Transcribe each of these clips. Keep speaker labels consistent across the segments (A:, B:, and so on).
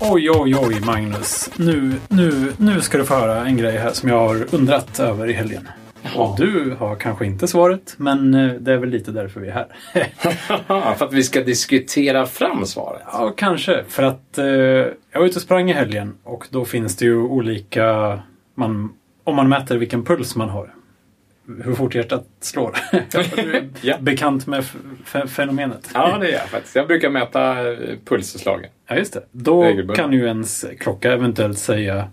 A: Oj, oj, oj, Magnus. Nu, nu, nu ska du få höra en grej här som jag har undrat över i helgen. Och du har kanske inte svaret, men eh, det är väl lite därför vi är här.
B: För att vi ska diskutera fram svaret.
A: ja, kanske. För att eh, jag var ute och sprang i helgen och då finns det ju olika... Man, om man mäter vilken puls man har. Hur fort hjärtat slår. du är
B: Ja.
A: bekant med f- f- fenomenet.
B: Ja, det är jag faktiskt. Jag brukar mäta eh, pulsslagen.
A: Ja, just det. Då
B: Regelbundet.
A: kan ju ens klocka eventuellt säga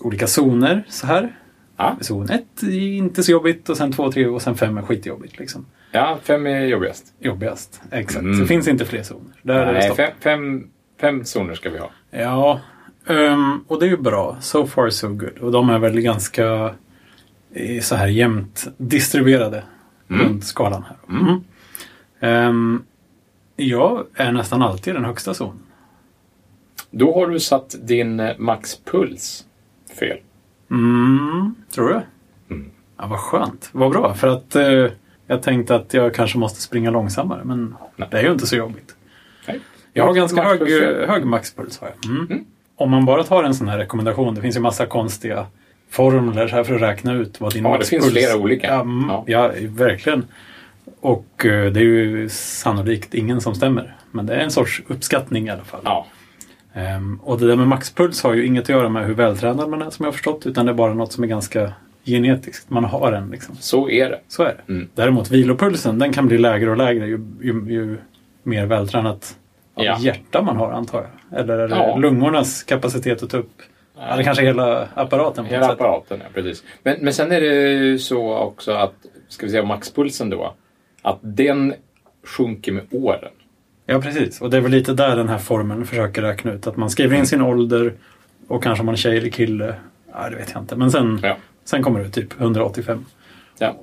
A: olika zoner så här.
B: Ja.
A: Zon 1 är inte så jobbigt och sen 2, 3 och sen 5 är skitjobbigt. Liksom.
B: Ja, fem är jobbigast.
A: Jobbigast. Exakt.
B: Mm.
A: Det finns inte fler zoner. Där är det
B: Nej,
A: stopp.
B: fem, fem, fem zoner ska vi ha.
A: Ja, ehm, och det är ju bra. So far so good. Och de är väl ganska eh, så här jämnt distribuerade runt skalan här. Mm. Ehm, jag är nästan alltid i den högsta zonen.
B: Då har du satt din eh, maxpuls fel.
A: Mm, tror du?
B: Mm.
A: Ja, vad skönt. Vad bra, för att eh, jag tänkte att jag kanske måste springa långsammare, men
B: Nej.
A: det är ju inte så jobbigt.
B: Nej.
A: Jag har ganska hög, eh,
B: Maxpuls fel.
A: hög maxpuls. Har jag. Mm. Om man bara tar en sån här rekommendation, det finns ju massa konstiga formler så här för att räkna ut vad din
B: Ja, det
A: maxpuls...
B: finns flera olika.
A: Ja, mm,
B: Ja.
A: ja. verkligen. Och eh, det är ju sannolikt ingen som stämmer, men det är en sorts uppskattning i alla fall.
B: Ja.
A: Ehm, och det där med maxpuls har ju inget att göra med hur vältränad man är som jag har förstått, utan det är bara något som är ganska genetiskt. Man har den liksom.
B: Så är det.
A: Så är det.
B: Mm.
A: Däremot vilopulsen, den kan bli lägre och lägre ju, ju, ju mer vältränat
B: Ja.
A: hjärta man har antar jag. Eller är det
B: Ja.
A: lungornas kapacitet att ta upp, eller kanske hela apparaten på något
B: Hela
A: sätt.
B: apparaten, ja, precis. Men, men sen är det ju så också att, ska vi säga maxpulsen då, att den sjunker med åren.
A: Ja, precis. Och det är väl lite där den här formeln försöker räkna ut. Att man skriver
B: Mm.
A: in sin ålder och kanske om man är tjej eller kille. Ja, det vet jag inte. Men sen,
B: Ja.
A: sen kommer det typ 185.
B: Ja.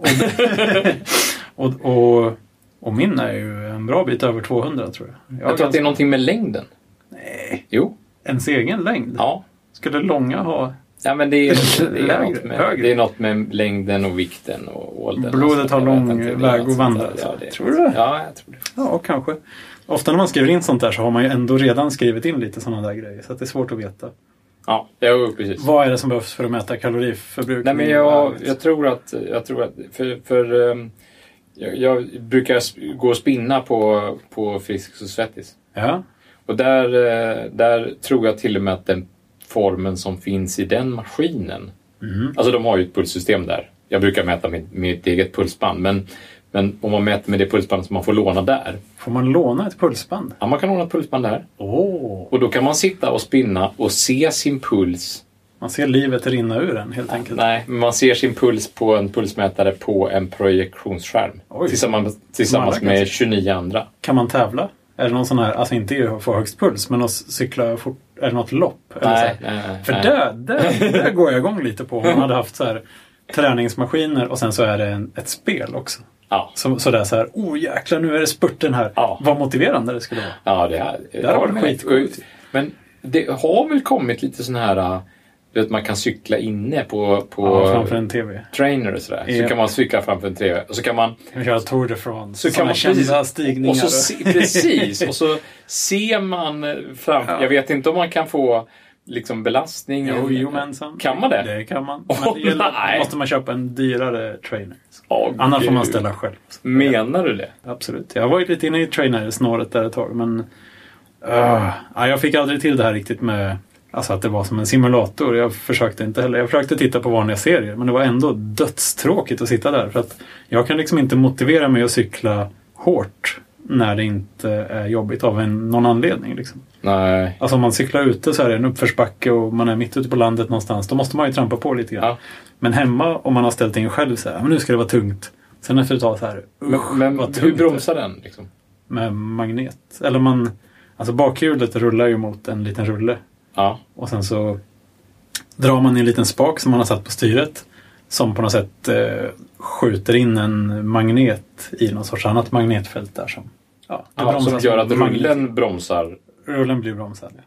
A: Och, och, och min är ju en bra bit över 200 tror jag.
B: Jag tror att det är någonting med längden. Nej. Jo.
A: Ens egen längd?
B: Ja.
A: Skulle långa ha...
B: Ja, men det är, det, är
A: Lägre,
B: något med,
A: högre.
B: det är något med längden och vikten och åldern.
A: Blodet
B: och sånt
A: har
B: där.
A: lång
B: Jag vet inte, det är
A: väg
B: något
A: att
B: sånt där.
A: vandra.
B: Ja, det är-
A: Tror du?
B: Ja, jag tror det.
A: Ja, kanske. Ofta när man skriver in sånt där så har man ju ändå redan skrivit in lite sådana där grejer. Så att det är svårt att veta.
B: Ja, jo, precis.
A: Vad är det som behövs för att mäta kaloriförbrukning?
B: Nej, men jag, jag tror att... Jag, tror att för, för, ehm, jag, jag brukar sp- gå och spinna på, på Friskis och Svettis.
A: Ja,
B: Och där, eh, där tror jag till och med att den formen som finns i den maskinen.
A: Mm.
B: Alltså de har ju ett pulssystem där. Jag brukar mäta mitt, mitt eget pulsband. Men, men om man mäter med det pulsband som man får låna där.
A: får man låna ett pulsband?
B: Ja, man kan låna ett pulsband där.
A: Åh!
B: Och då kan man sitta och spinna och se sin puls.
A: Man ser livet rinna ur en helt enkelt.
B: Nej, men man ser sin puls på en pulsmätare på en projektionsskärm.
A: Oj.
B: Tillsammans,
A: Som alla
B: tillsammans
A: kan
B: med
A: se.
B: 29 andra.
A: Kan man tävla? Är det någon sån här, alltså inte i att få högst puls, men att cykla fort? Är det något lopp? Eller så
B: Nej,
A: här?
B: nej, nej,
A: För
B: nej.
A: där, där, där går jag igång lite på om man hade haft så här träningsmaskiner och sen så är det en, ett spel också.
B: Ja,
A: Så, så där så här, oh jäklar nu är det spurten här.
B: Ja.
A: Vad motiverande det skulle vara.
B: ja det här
A: Det hade varit
B: men-
A: skitcoolt.
B: Men det har väl kommit lite sån här... äh, Du vet, man kan cykla inne på, på
A: Ja, framför en TV.
B: trainer och sådär. Så
A: Ja.
B: kan man cykla framför en TV. Och så kan man...
A: Vi Köra Tour de France.
B: Så kan
A: Sådana
B: man
A: kända
B: precis,
A: stigningar.
B: Och så se, precis, och så ser man fram... Jag vet inte om man kan få liksom belastning.
A: Jo, jo, men sen-
B: Kan man det?
A: Det kan man.
B: Åh,
A: Men det gäller,
B: nej.
A: måste man köpa en dyrare trainer.
B: Åh,
A: Annars får man
B: gud.
A: ställa själv.
B: Menar du det?
A: Absolut. Jag var ju lite inne i trainer-snåret där ett tag, men ah, ja, jag fick aldrig till det här riktigt med alltså att det var som en simulator. Jag försökte inte heller. Jag försökte titta på vanliga serier, men det var ändå dödstråkigt att sitta där. För att jag kan liksom inte motivera mig att cykla hårt när det inte är jobbigt av en, någon anledning. Liksom.
B: Nej.
A: Alltså om man cyklar ute så är det en uppförsbacke och man är mitt ute på landet någonstans. Då måste man ju trampa på lite grann.
B: Ja.
A: Men hemma, om man har ställt in själv så här, "Ja, men nu ska det vara tungt. Sen efter ett tag så här, usch
B: Men
A: vad
B: hur
A: tungt. det är."
B: bromsar den? Liksom?
A: med magnet. Eller man, alltså bakhjulet rullar ju mot en liten rulle
B: Ja.
A: och sen så drar man i en liten spak som man har satt på styret som på något sätt eh, skjuter in en magnet i någon sorts annat magnetfält där som, ja, det
B: ja som
A: bromsas
B: gör
A: med
B: att
A: magnet.
B: rullen bromsar.
A: rullen blir bromsad. ja.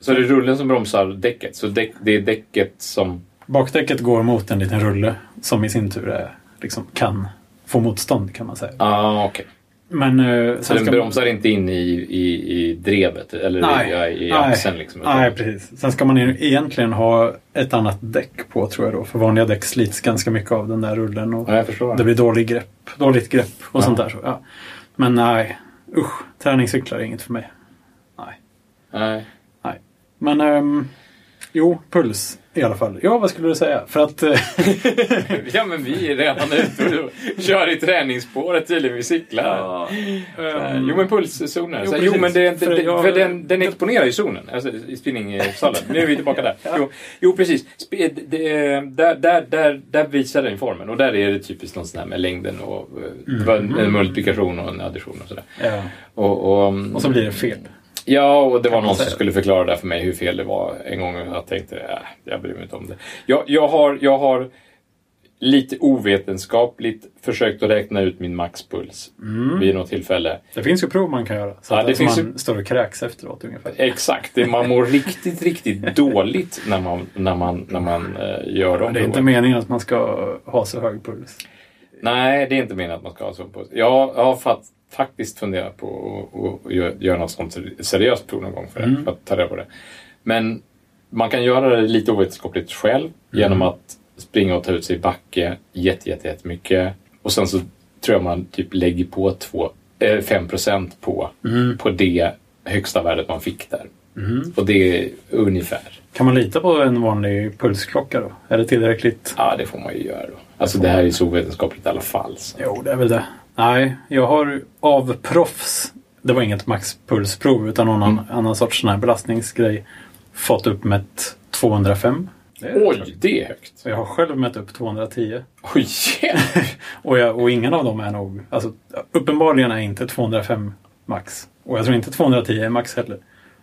B: Så det är rullen som bromsar däcket. Så däck, det är däcket som...
A: Bakdäcket går mot en liten rulle som i sin tur är, liksom, kan få motstånd kan man säga.
B: Ah, okej.
A: Men eh,
B: Så
A: sen
B: den
A: ska man,
B: bromsar inte in i, i, i drevet eller
A: Nej.
B: i, i
A: Nej.
B: axeln. Liksom, utan-
A: nej, precis. Sen ska man ju egentligen ha ett annat däck på tror jag då. För vanliga däck slits ganska mycket av den där rullen. Och
B: Ja, jag förstår.
A: Det blir dålig grepp, dåligt grepp och
B: Ja.
A: sånt där. Så, ja. Men nej, usch. Träningscyklar är inget för mig. Nej.
B: Nej.
A: nej. Men ehm, jo, puls i alla fall. Ja, vad skulle du säga? För att... eh,
B: Ja, men vi är redan ute och kör i träningsspåret tydligen. Vi cyklar. Eh,
A: ehm,
B: Jo men pulszoner.
A: Jo,
B: Jo, jo
A: precis.
B: men det är inte,
A: För
B: det,
A: jag-
B: för den, den exponerar ju zonen, alltså i spinningsalen. Nu är vi tillbaka där. Jo, jo precis. Sp- eh, det, där, där, där, där visar den formen och där är det typiskt någon sån här med längden och eh,
A: Mm.
B: det var en, en multiplikation och en addition och sådär.
A: ja.
B: Och, och, mm.
A: Och så blir det fel.
B: Ja, och det var
A: man
B: någon som
A: säga.
B: skulle förklara det här för mig hur fel det var en gång och jag tänkte, äh, jag bryr mig inte om det. Jag, jag, har, jag har lite ovetenskapligt försökt att räkna ut min maxpuls vid något tillfälle.
A: Mm. Det finns ju prov man kan göra. Så
B: Ja,
A: att
B: det
A: alltså
B: finns
A: man
B: ju-
A: står och kräks efteråt ungefär.
B: Exakt, det- man mår riktigt, riktigt dåligt när man, när man, när man eh, gör de
A: Men det är inte
B: proven.
A: meningen att man ska ha så hög puls.
B: Nej, det är inte meningen att man ska ha så på Jag, jag har fatt, faktiskt funderat på att- att- att gö- göra något sånt seriöst prov någon gång för, för att ta reda på det. Men man kan göra det lite ovetenskapligt själv genom att springa och ta ut sig i backe jätte, jätte, jättemycket. Och sen så tror jag man typ lägger på två, eh, 5 på, på det högsta värdet man fick där. Och det är ungefär.
A: Kan man lita på en vanlig pulsklocka då? Är det tillräckligt?
B: Ja, det får man ju göra då. Alltså det här är så ovetenskapligt i alla fall. Så.
A: Jo, det är väl det. Nej, jag har av proffs, det var inget maxpulsprov utan någon annan- annan sorts sån här belastningsgrej, fått upp mätt 205. Det är rätt
B: Oj,
A: högt.
B: det är högt!
A: Så jag har själv mätt upp 210.
B: Oj, hjälp!
A: Och, jag, och ingen av dem är nog... Alltså, uppenbarligen är inte 205 max. Och jag tror inte 210 är max heller.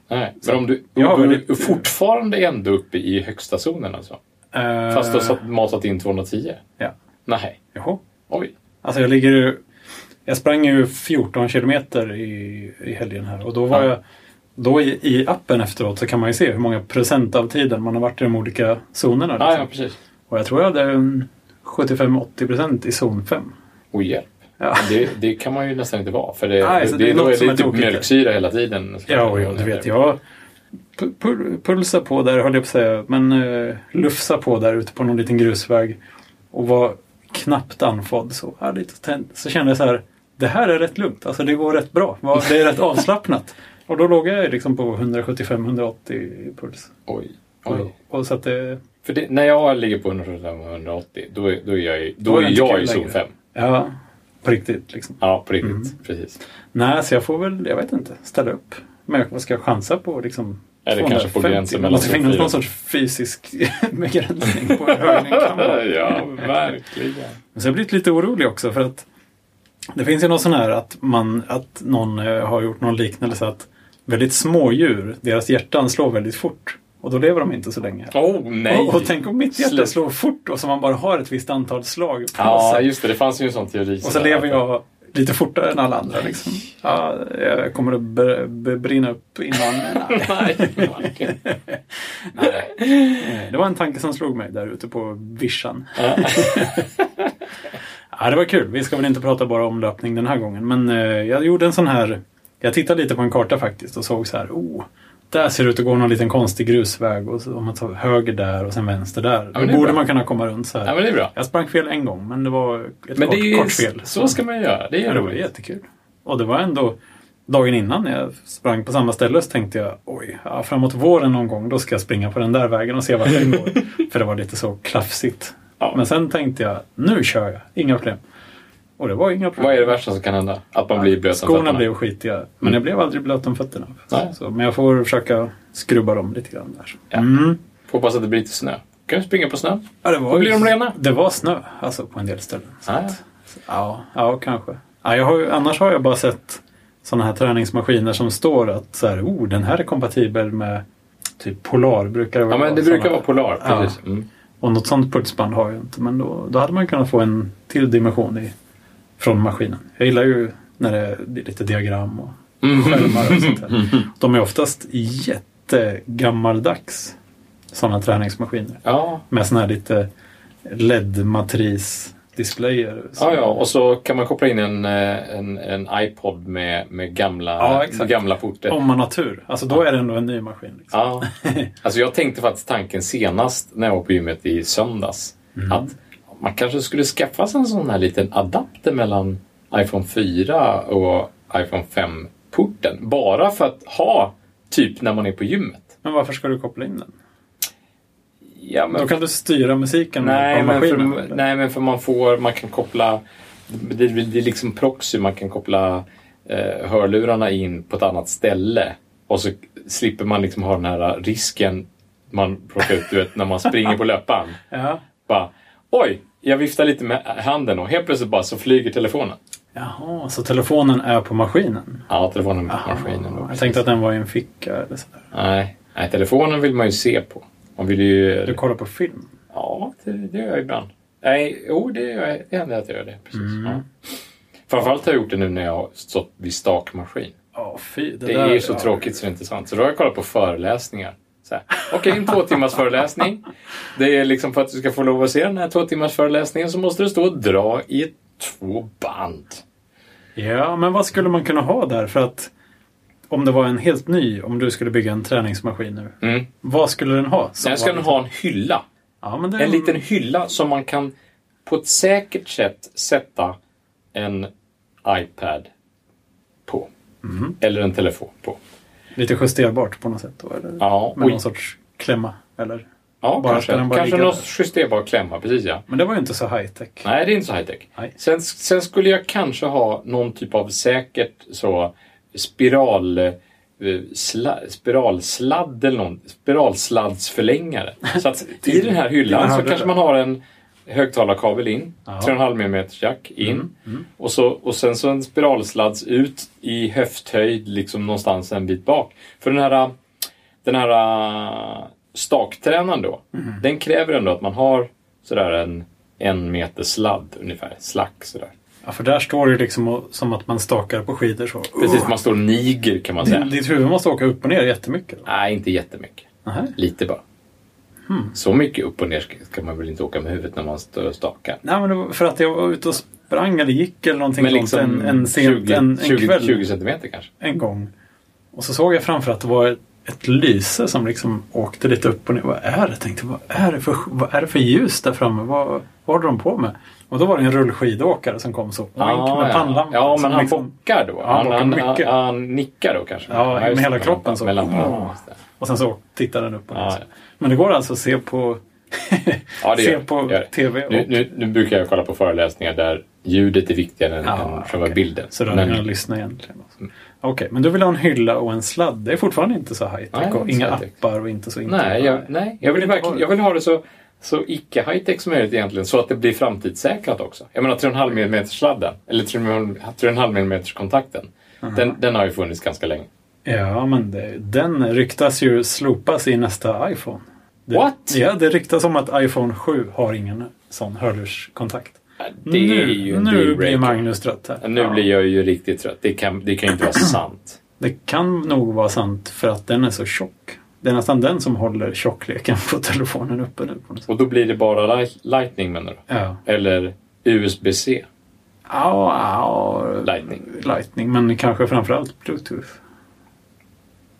B: Nej, men om du,
A: Jag har
B: om du
A: väldigt-
B: är fortfarande ändå uppe i högsta zonen alltså?
A: Eh,
B: Fast du har satt, matat in 210?
A: Ja.
B: Nej,
A: Jo.
B: oj.
A: Alltså jag ligger ju- Jag sprang ju 14 kilometer i, i helgen här och då var
B: Ja.
A: jag... Då i, i appen efteråt så kan man ju se hur många procent av tiden man har varit i de olika zonerna.
B: Ja, ja,
A: liksom.
B: precis.
A: Och jag tror jag hade en 75-80 procent i zon 5.
B: Oj, hjälp.
A: Ja,
B: Det, det kan man ju nästan inte vara, för det,
A: Nej, så
B: det,
A: det är
B: då
A: något
B: är
A: som
B: det
A: är
B: typ
A: tokigt.
B: mjölksyra hela tiden.
A: ja, och ja det vet jag. Pu- pul- Pulsa på där, höll jag på att säga, men uh, lufsa på där ute på någon liten grusväg och var knappt anfodd. Så, här, lite tänd. så kände jag så här, det här är rätt lugnt, alltså det går rätt bra, Vad- det är rätt avslappnat. Och då låg jag ju liksom på 175-180 i puls.
B: Oj,
A: Och,
B: oj.
A: och så att det,
B: För det, när jag ligger på 180, då är, då är jag, i- då
A: Då är
B: är
A: den
B: jag
A: tycker
B: i
A: jag
B: zon
A: lägre.
B: 5.
A: ja, på riktigt liksom.
B: Ja, på riktigt. Precis.
A: Nej, så jag får väl, jag vet inte, ställa upp. Men jag ska chansa på liksom
B: Eller kanske på
A: 250.
B: gränsen
A: Alltså, Det
B: mellan
A: måste finnas
B: fyra.
A: någon sorts fysisk begränsning på hur hög den kan vara.
B: ja, verkligen.
A: Men så har jag blivit lite orolig också för att det finns ju någon sån här att, man, att någon eh, har gjort någon liknelse att väldigt små djur, deras hjärtan slår väldigt fort och då lever de inte så länge.
B: Åh, oh, nej!
A: Och, och tänk om mitt hjärta
B: Slut.
A: slår fort och så man bara har ett visst antal slag på
B: Ja,
A: sig.
B: just det. Det fanns ju en sån teori.
A: Och så
B: sådär,
A: lever
B: att-
A: jag lite fortare än alla andra. Liksom. Ja, jag kommer att br- br- brinna upp innan.
B: Nej. Nej.
A: Nej, Eh, det var en tanke som slog mig där ute på vischan. ja, det var kul. Vi ska väl inte prata bara om löpning den här gången, men eh, jag gjorde en sån här... Jag tittade lite på en karta faktiskt och såg så här, oh, där ser det ut att gå någon liten konstig grusväg och så, om man tar höger där och sen vänster där.
B: men
A: Då
B: det är
A: borde
B: bra.
A: man kunna komma runt så här.
B: Ja, men det är bra.
A: Jag sprang fel en gång, men det var ett
B: Men det
A: kort,
B: är ju,
A: kort fel.
B: Så ska man göra. Det är ju
A: Ja, det var
B: roligt.
A: jättekul. Och det var ändå dagen innan när jag sprang på samma ställe så tänkte jag oj, ja, framåt våren någon gång då ska jag springa på den där vägen och se vart den går. För det var lite så klafsigt.
B: Ja.
A: Men sen tänkte jag, nu kör jag, inga problem. Och det var inga problem.
B: Vad är det värsta som kan hända? Att man blir blöt om
A: Skorna
B: fötterna? Mm.
A: blev skitiga, men jag blev aldrig blöt om fötterna.
B: Nej.
A: Så, men jag får försöka skrubba dem lite grann där.
B: Ja.
A: Mm.
B: Hoppas att det blir lite snö. Kan du springa på snö?
A: Ja, det var
B: blir de rena?
A: Det var snö alltså, på en del ställen. Så
B: Nej.
A: att- Ja, ja kanske. Ja, jag har, ju- annars har jag bara sett sådana här träningsmaskiner som står att så här, oh, den här är kompatibel med typ Polar. Brukar det
B: Ja, men det
A: såna-
B: brukar vara polar.
A: Ja.
B: Precis. Mm.
A: Och något sånt pulsband har jag inte. Men då, då hade man kunnat få en till dimension i, från maskinen. Jag gillar ju när det är lite diagram och
B: Mm.
A: skärmar och sånt här. De är oftast jättegammaldags sådana träningsmaskiner
B: Ja.
A: med sån här lite LED-matris. displayer. Så-
B: Ja, ja, och så kan man koppla in en, eh, en, en iPod med, med gamla,
A: Ja, exakt.
B: gamla porter.
A: Om man har tur. Alltså då är det ändå en ny maskin. Liksom.
B: Ja. Alltså jag tänkte faktiskt tanken senast när jag var på gymmet i söndags.
A: Mm.
B: Att man kanske skulle skaffa sig en sån här liten adapter mellan iPhone 4 och iPhone 5-porten. Bara för att ha, typ när man är på gymmet.
A: Men varför ska du koppla in den?
B: Ja, men
A: Då kan du styra musiken
B: Nej,
A: på
B: men
A: maskinen.
B: för,
A: eller?
B: nej, men för man får, man kan koppla, det, det det är liksom proxy, man kan koppla eh, hörlurarna in på ett annat ställe och så slipper man liksom ha den här risken man råkar ut du vet, när man springer på löparen.
A: Ja.
B: Bara, Oj, jag viftar lite med handen och helt plötsligt bara så flyger telefonen.
A: Jaha, så telefonen är på maskinen?
B: Ja, telefonen med maskinen. då,
A: Ah, jag
B: precis.
A: tänkte att den var i en ficka eller sådär.
B: nej, nej, telefonen vill man ju se på. Man vill ju...
A: Du kollar på film?
B: Ja, det, det gör jag ibland. Nej, jo, det, gör jag, det händer att jag gör det. Precis.
A: Mm.
B: Ja. Framförallt har jag gjort det nu när jag har stått vid stakmaskin.
A: Ja, fy. Det,
B: Det
A: där,
B: är ju så
A: ja.
B: tråkigt så det är inte sant. Så då har jag kollat på föreläsningar. Så här, Okej, en två timmars föreläsning. Det är liksom för att du ska få lov att se den här två timmars föreläsningen så måste du stå och dra i två band.
A: Ja, men vad skulle man kunna ha där? För att om det var en helt ny, om du skulle bygga en träningsmaskin nu.
B: Mm.
A: Vad skulle den ha? Som
B: Sen ska
A: var
B: den
A: liksom-
B: ha en hylla.
A: ja, men det är
B: En liten hylla som man kan på ett säkert sätt sätta en iPad på.
A: Mm.
B: Eller en telefon på.
A: Lite justerbart på något sätt då? Eller?
B: Ja,
A: Med
B: oj.
A: någon sorts klämma? Eller?
B: Ja,
A: Bara
B: kanske.
A: ska den bara
B: kanske
A: ligga
B: någon
A: där.
B: justerbar klämma, precis ja.
A: Men det var ju inte så high tech.
B: Nej, det är inte så high tech.
A: Nej.
B: Sen, sen skulle jag kanske ha någon typ av säkert så spiral, eh, sla, spiralsladd eller någon, spiralsladdsförlängare. Så att i den här
A: den
B: hyllan
A: här
B: så
A: hyllan.
B: kanske man har en högtalarkabel in,
A: Ja.
B: 3,5 mm jack in Och, så, och sen så en spiralsladds ut i höfthöjd liksom någonstans en bit bak. För den här den här äh, staktränaren då, den kräver ändå att man har sådär en en meter sladd ungefär, slack sådär.
A: Ja, för där står det ju liksom och- som att man stakar på skidor så.
B: Precis, man står niger kan man säga.
A: Ditt huvud måste åka upp och ner jättemycket. Då.
B: Nej, inte jättemycket.
A: Nej.
B: Lite bara. Så mycket upp och ner ska- ska man väl inte åka med huvudet när man står och stakar.
A: Nej, men det var för att jag var ute och sprang eller gick eller någonting
B: Men liksom
A: sånt en, en, sent,
B: 20,
A: en, en
B: 20,
A: kväll
B: 20 centimeter kanske.
A: en gång. Och så såg jag framför att det var ett, ett lyse som liksom åkte lite upp och ner. Vad är det? Tänkte, vad är det för, vad är det för ljus där framme? Vad, vad håller de på med? Och då var det en rullskidåkare som kom så. Och vinkade med
B: ja.
A: pannlampan.
B: ja,
A: som
B: men han
A: liksom-
B: bockar då.
A: han bockar
B: han,
A: mycket.
B: han, han nickar då kanske.
A: Ja, med
B: just
A: hela
B: det,
A: kroppen så.
B: Mellan,
A: Ja.
B: just det.
A: Och sen så tittade den upp och ner.
B: Ja, ja.
A: Men det går alltså att se på,
B: Ja, det gör
A: se
B: det.
A: på
B: Det gör det.
A: TV. Och,
B: Nu, nu, nu brukar jag kolla på föreläsningar där ljudet är viktigare än,
A: Ja,
B: än själva
A: okej.
B: bilden.
A: Så då hade
B: Men-
A: jag liksom lyssna egentligen. Okej, men du vill ha en hylla och en sladd. Det är fortfarande inte så high
B: Nej,
A: tech och
B: inte så
A: inga
B: high-tech.
A: appar och inte så
B: Nej, jag,
A: intima.
B: nej. Jag, vill
A: inte ha
B: verkligen,
A: det.
B: jag vill ha det så, så icke high-tech som möjligt egentligen, så att det blir framtidssäkrat också. Jag menar 3,5 mm sladden, eller 3,5 mm kontakten. Den, den har ju funnits ganska länge.
A: Ja, men det, den ryktas ju slopas i nästa iPhone. Det,
B: What?
A: Ja, det ryktas om att iPhone 7 har ingen sån hörlurskontakt.
B: Det är
A: nu
B: ju en
A: nu blir
B: dealbreaker.
A: Magnus trött här.
B: Nu blir jag ju riktigt trött. Det kan, det kan ju inte vara sant.
A: Det kan nog vara sant för att den är så tjock. Det är nästan den som håller tjockleken på telefonen uppe nu. På något sätt.
B: Och då blir det bara light, lightning menar du?
A: Ja.
B: Eller USB-C?
A: Au, au.
B: Lightning.
A: Lightning, men kanske framförallt Bluetooth.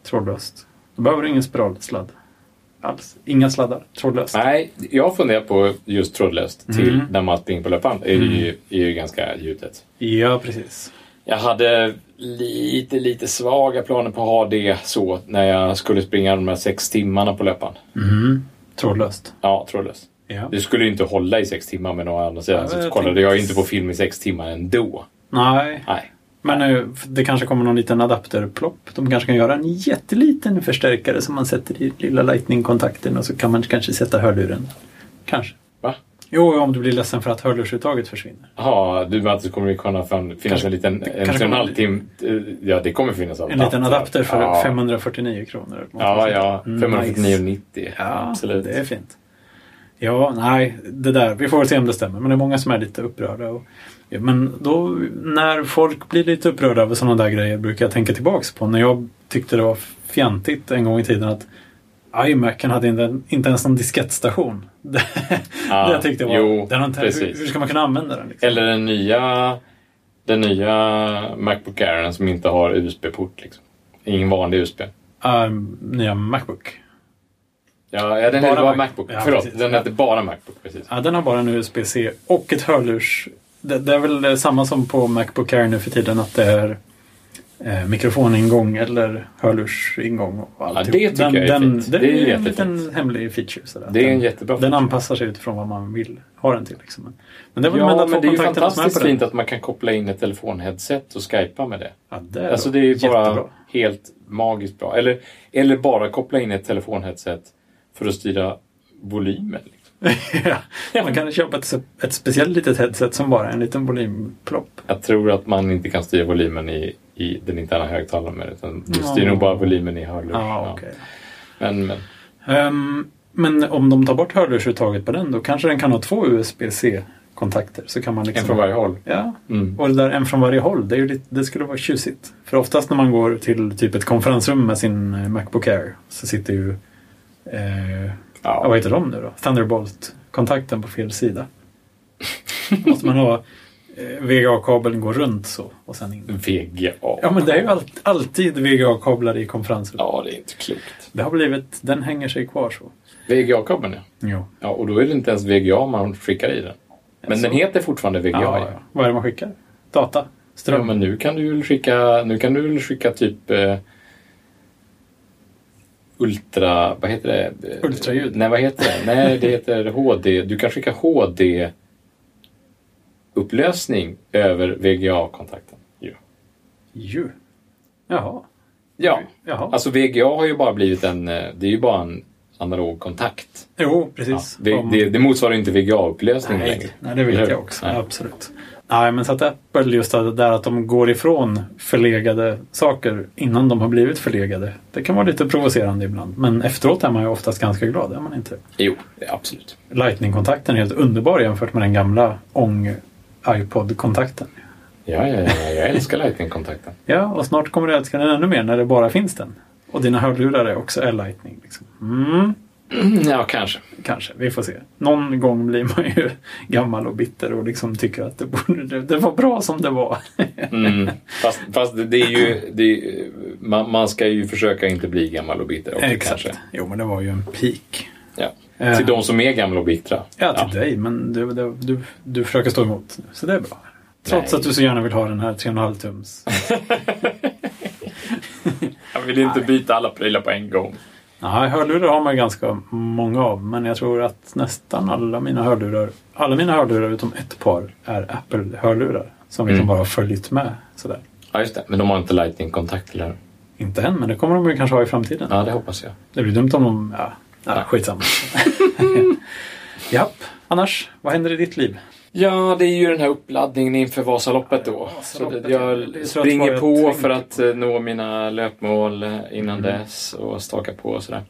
A: Trådlöst. Då behöver du ingen spiralsladd. Alls. Inga sladdar. Trådlöst.
B: Nej, jag funderar på just trådlöst till
A: Mm.
B: när man springer på löpband. Det är ju, är ju ganska ljudet.
A: Ja, precis.
B: Jag hade lite, lite svaga planer på att ha det så när jag skulle springa de här sex timmarna på löpband.
A: Mm-hmm. Trådlöst.
B: Ja, trådlöst.
A: Ja.
B: Det skulle ju inte hålla i sex timmar, men å andra sidan
A: Ja,
B: så
A: jag
B: kollade
A: tänkte-
B: jag ju inte på film i sex timmar ändå.
A: Nej,
B: Nej.
A: men eh, det kanske kommer någon liten adapterplopp. De kanske kan göra en jätteliten förstärkare som man sätter i lilla lightning-kontakten och så kan man kanske sätta hörluren. Kanske.
B: Va?
A: Jo, om du blir ledsen för att hörlursuttaget försvinner.
B: Jaha, du menar att det kommer kunna fan- finnas en liten...
A: kanske
B: En tre och en
A: kommer-
B: halv timme... Ja, det kommer finnas
A: En liten adapter för
B: ja.
A: 549 kronor. Mm.
B: Ja, ja.
A: Nice.
B: 549,90.
A: Ja,
B: Absolut.
A: det är fint. Ja, nej, det där. Vi får väl se om det stämmer. Men det är många som är lite upprörda. Och, ja, men då, när folk blir lite upprörda över sådana där grejer brukar jag tänka tillbaks på när jag tyckte det var fjantigt en gång i tiden att iMacen hade inte, inte ens någon diskettstation. det,
B: Ja,
A: det jag tyckte var...
B: jo,
A: den har inte, hur,
B: precis.
A: hur ska man kunna använda den? Liksom?
B: Eller den nya, den nya Macbook Airen som inte har USB-port. Liksom. Ingen vanlig USB.
A: Ehm, nya Macbook.
B: Ja, ja den
A: Bara
B: heter bara
A: Mac-
B: Macbook.
A: Ja,
B: Förlåt,
A: precis.
B: den heter bara Macbook. Precis.
A: Ja, den har bara en USB-C och ett hörlurs. Det, det är väl eh, samma som på Macbook Air nu för tiden att det är eh, mikrofoningång eller hörlursingång och alltihop.
B: det tycker
A: den,
B: jag är
A: den,
B: fint.
A: Det
B: Det är
A: är en
B: jättefint.
A: liten hemlig feature. Sådär.
B: Det är en
A: den,
B: jättebra
A: den
B: feature.
A: anpassar sig utifrån vad man vill ha den till. Liksom. Men det var de
B: Ja,
A: enda
B: men
A: två
B: det är ju
A: kontakterna som är på
B: fantastiskt
A: den.
B: fint att man kan koppla in ett telefonheadset och skypa med det.
A: Ja, det är,
B: Alltså det är ju bara
A: jättebra.
B: helt magiskt bra. Eller, eller bara koppla in ett telefonheadset för att styra volymen. Liksom.
A: ja, man kan köpa ett, ett speciellt litet headset som bara är en liten volymplopp.
B: Jag tror att man inte kan styra volymen i, i den interna högtalaren med det, utan du styr
A: Ja.
B: nog bara volymen i hörlurs.
A: Ja,
B: Ja.
A: okej.
B: Men, men
A: Ehm, men om de tar bort hörlursuttaget på den då kanske den kan ha två USB-C-kontakter. Så kan man liksom...
B: en från varje håll.
A: Ja,
B: Mm.
A: och det där en från varje håll, det, är ju lite, det skulle vara tjusigt. För oftast när man går till typ ett konferensrum med sin eh, Macbook Air så sitter ju, eh, ja, vad
B: Ja.
A: heter de nu då? Thunderbolt-kontakten på fel sida. Måste man ha eh, VGA-kabeln gå runt så och sen in.
B: VGA.
A: Ja, men det är ju allt- alltid VGA-kablar i konferensrum.
B: Ja, det är inte klokt.
A: Det har blivit, den hänger sig kvar så.
B: VGA-kabeln ja.
A: Jo.
B: ja. Och då är det inte ens VGA man skickar i den. Men
A: Alltså.
B: den heter fortfarande VGA.
A: Ja,
B: Ja,
A: ja. Vad är det man skickar? Data?
B: Ja,
A: Ström?
B: men nu kan du väl skicka, nu kan du väl skicka typ eh, Ultra... Vad heter det? Eh,
A: Ultraljud.
B: Nej, vad heter det? Nej, det heter HD. Du kan skicka HD-upplösning över VGA-kontakten. Ja.
A: Ju. Jaha.
B: ja.
A: Jaha.
B: Alltså VGA har ju bara blivit en... eh, Det är ju bara en analog kontakt.
A: jo,
B: Ja.
A: precis.
B: Det,
A: Om-
B: det, det motsvarar ju inte VGA-upplösningen längre.
A: Nej, nej, det vet
B: Eller
A: jag
B: hur?
A: också.
B: Nej.
A: Absolut. Nej, men så att Apple just det där att de går ifrån förlegade saker innan de har blivit förlegade. Det kan vara lite provocerande ibland. Men efteråt är man ju oftast ganska glad, är man inte?
B: Jo, absolut.
A: Lightning-kontakten är helt underbar jämfört med den gamla ång-iPod-kontakten.
B: Ja, ja, ja, jag älskar Lightning-kontakten.
A: Ja, och snart kommer du älska den ännu mer när det bara finns den. Och dina hörlurar är också är Lightning. Liksom. Mm,
B: Ja, kanske.
A: kanske, vi får se. Någon gång blir man ju gammal och bitter och liksom tycker att det, borde, det, det var bra som det var.
B: Mm. Fast, fast det är ju... Det är, ju- man, man ska ju försöka inte bli gammal och bitter också kanske.
A: Jo, men det var ju en peak.
B: Ja.
A: Eh.
B: Till de som är gamla och bittra.
A: Ja, till dig, men du, du, du, du försöker stå emot nu, så det är bra. Trots
B: Nej.
A: att du så gärna vill ha den här 3,5 tums.
B: Jag vill inte byta alla prylar på en gång.
A: Nej, hörlurar har man ju ganska många av, men jag tror att nästan alla mina hörlurar, alla mina hörlurar utom ett par, är Apple-hörlurar. Som liksom
B: Mm.
A: bara har följt med sådär.
B: Ja, just det. Men de har inte lightning-kontakt, eller hur?
A: Inte än, men det kommer de ju kanske ha i framtiden.
B: Ja, det hoppas jag.
A: Det blir dumt om de... Ja, ja skitsamma. Japp. Annars, vad händer i ditt liv?
B: Ja, det är ju den här uppladdningen inför Vasaloppet då. Så
A: Vasaloppet,
B: det,
A: ja. Det
B: jag
A: tror jag
B: springer
A: att det var
B: på
A: jag
B: för att eh, nå mina löpmål eh, innan dess och staka på och sådär.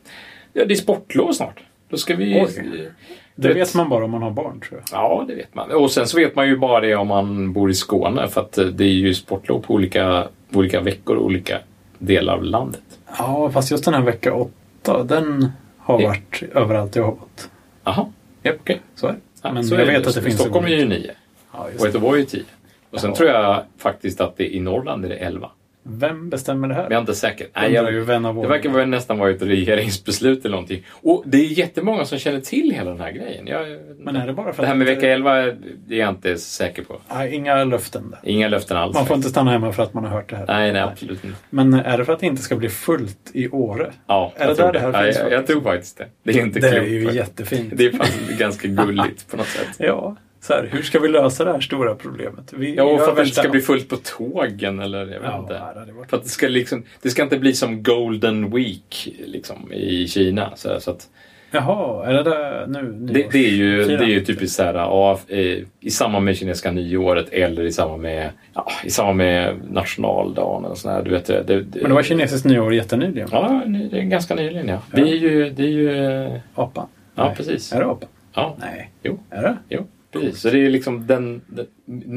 B: Ja, det är sportlov snart. Då ska vi...
A: Oj. Det
B: Vet-
A: vet man bara om man har barn, tror jag.
B: Ja, det vet man. Och sen så vet man ju bara det om man bor i Skåne för att eh, det är ju sportlov på olika, olika veckor och olika delar av landet.
A: Ja, fast just den här vecka åtta, den har
B: Ja.
A: varit överallt jag har varit.
B: Jaha, ja, okej.
A: Så är det.
B: Ja,
A: Men
B: så
A: jag
B: är det.
A: vet att det finns
B: Stockholm är
A: olika.
B: ju nio
A: Ja, just
B: och
A: det.
B: Göteborg är tio. Och sen
A: Ja.
B: tror jag faktiskt att det i Norrland är det elva.
A: Vem bestämmer det
B: Men jag
A: här?
B: är inte säker. Nej,
A: Undrar ju
B: jag,
A: vän av
B: det
A: ordning.
B: verkar vara, nästan vara ett regeringsbeslut eller någonting. Och det är jättemånga som känner till hela den här grejen. Jag,
A: Men är det bara för
B: det här med
A: att inte-
B: vecka elva är jag inte så säker på.
A: Nej, inga löften där.
B: Inga löften alls.
A: Man får inte stanna hemma för att man har hört det här.
B: Nej, nej, absolut inte.
A: Men är det för att det inte ska bli fullt i Åre?
B: Ja,
A: Är det
B: jag
A: där
B: tror
A: det här
B: Ja,
A: finns
B: jag, jag
A: faktiskt?
B: tror faktiskt det. Det är inte
A: Det är
B: klokt.
A: ju
B: faktiskt.
A: jättefint.
B: Det är faktiskt ganska gulligt på något sätt.
A: Ja, så här, hur ska vi lösa det här stora problemet? Vi
B: Ja,
A: gör
B: och för att det inte
A: värsta-
B: ska bli fullt på tågen eller jag vet
A: Ja,
B: inte.
A: det hade varit-
B: För att det ska, liksom, det ska inte bli som Golden Week liksom, i Kina. Så, här, så att
A: Jaha, är det där nu?
B: det,
A: nyårs-
B: det, är ju, det
A: firandet?
B: är ju typiskt så här, ja, eh, i samband med kinesiska nyåret eller i samband med, ja, i samband med nationaldagen. Och sån här, du vet, det, det,
A: Men det var kinesiskt nyår jättenyligen.
B: Ja, ny- det är ganska nyligen ja. Det är ju... Det är ju eh,
A: Apan?
B: Ja,
A: Nej.
B: precis.
A: Är det apan?
B: ja,
A: Nej.
B: jo.
A: Är det?
B: Jo, precis. Så det är liksom den, det,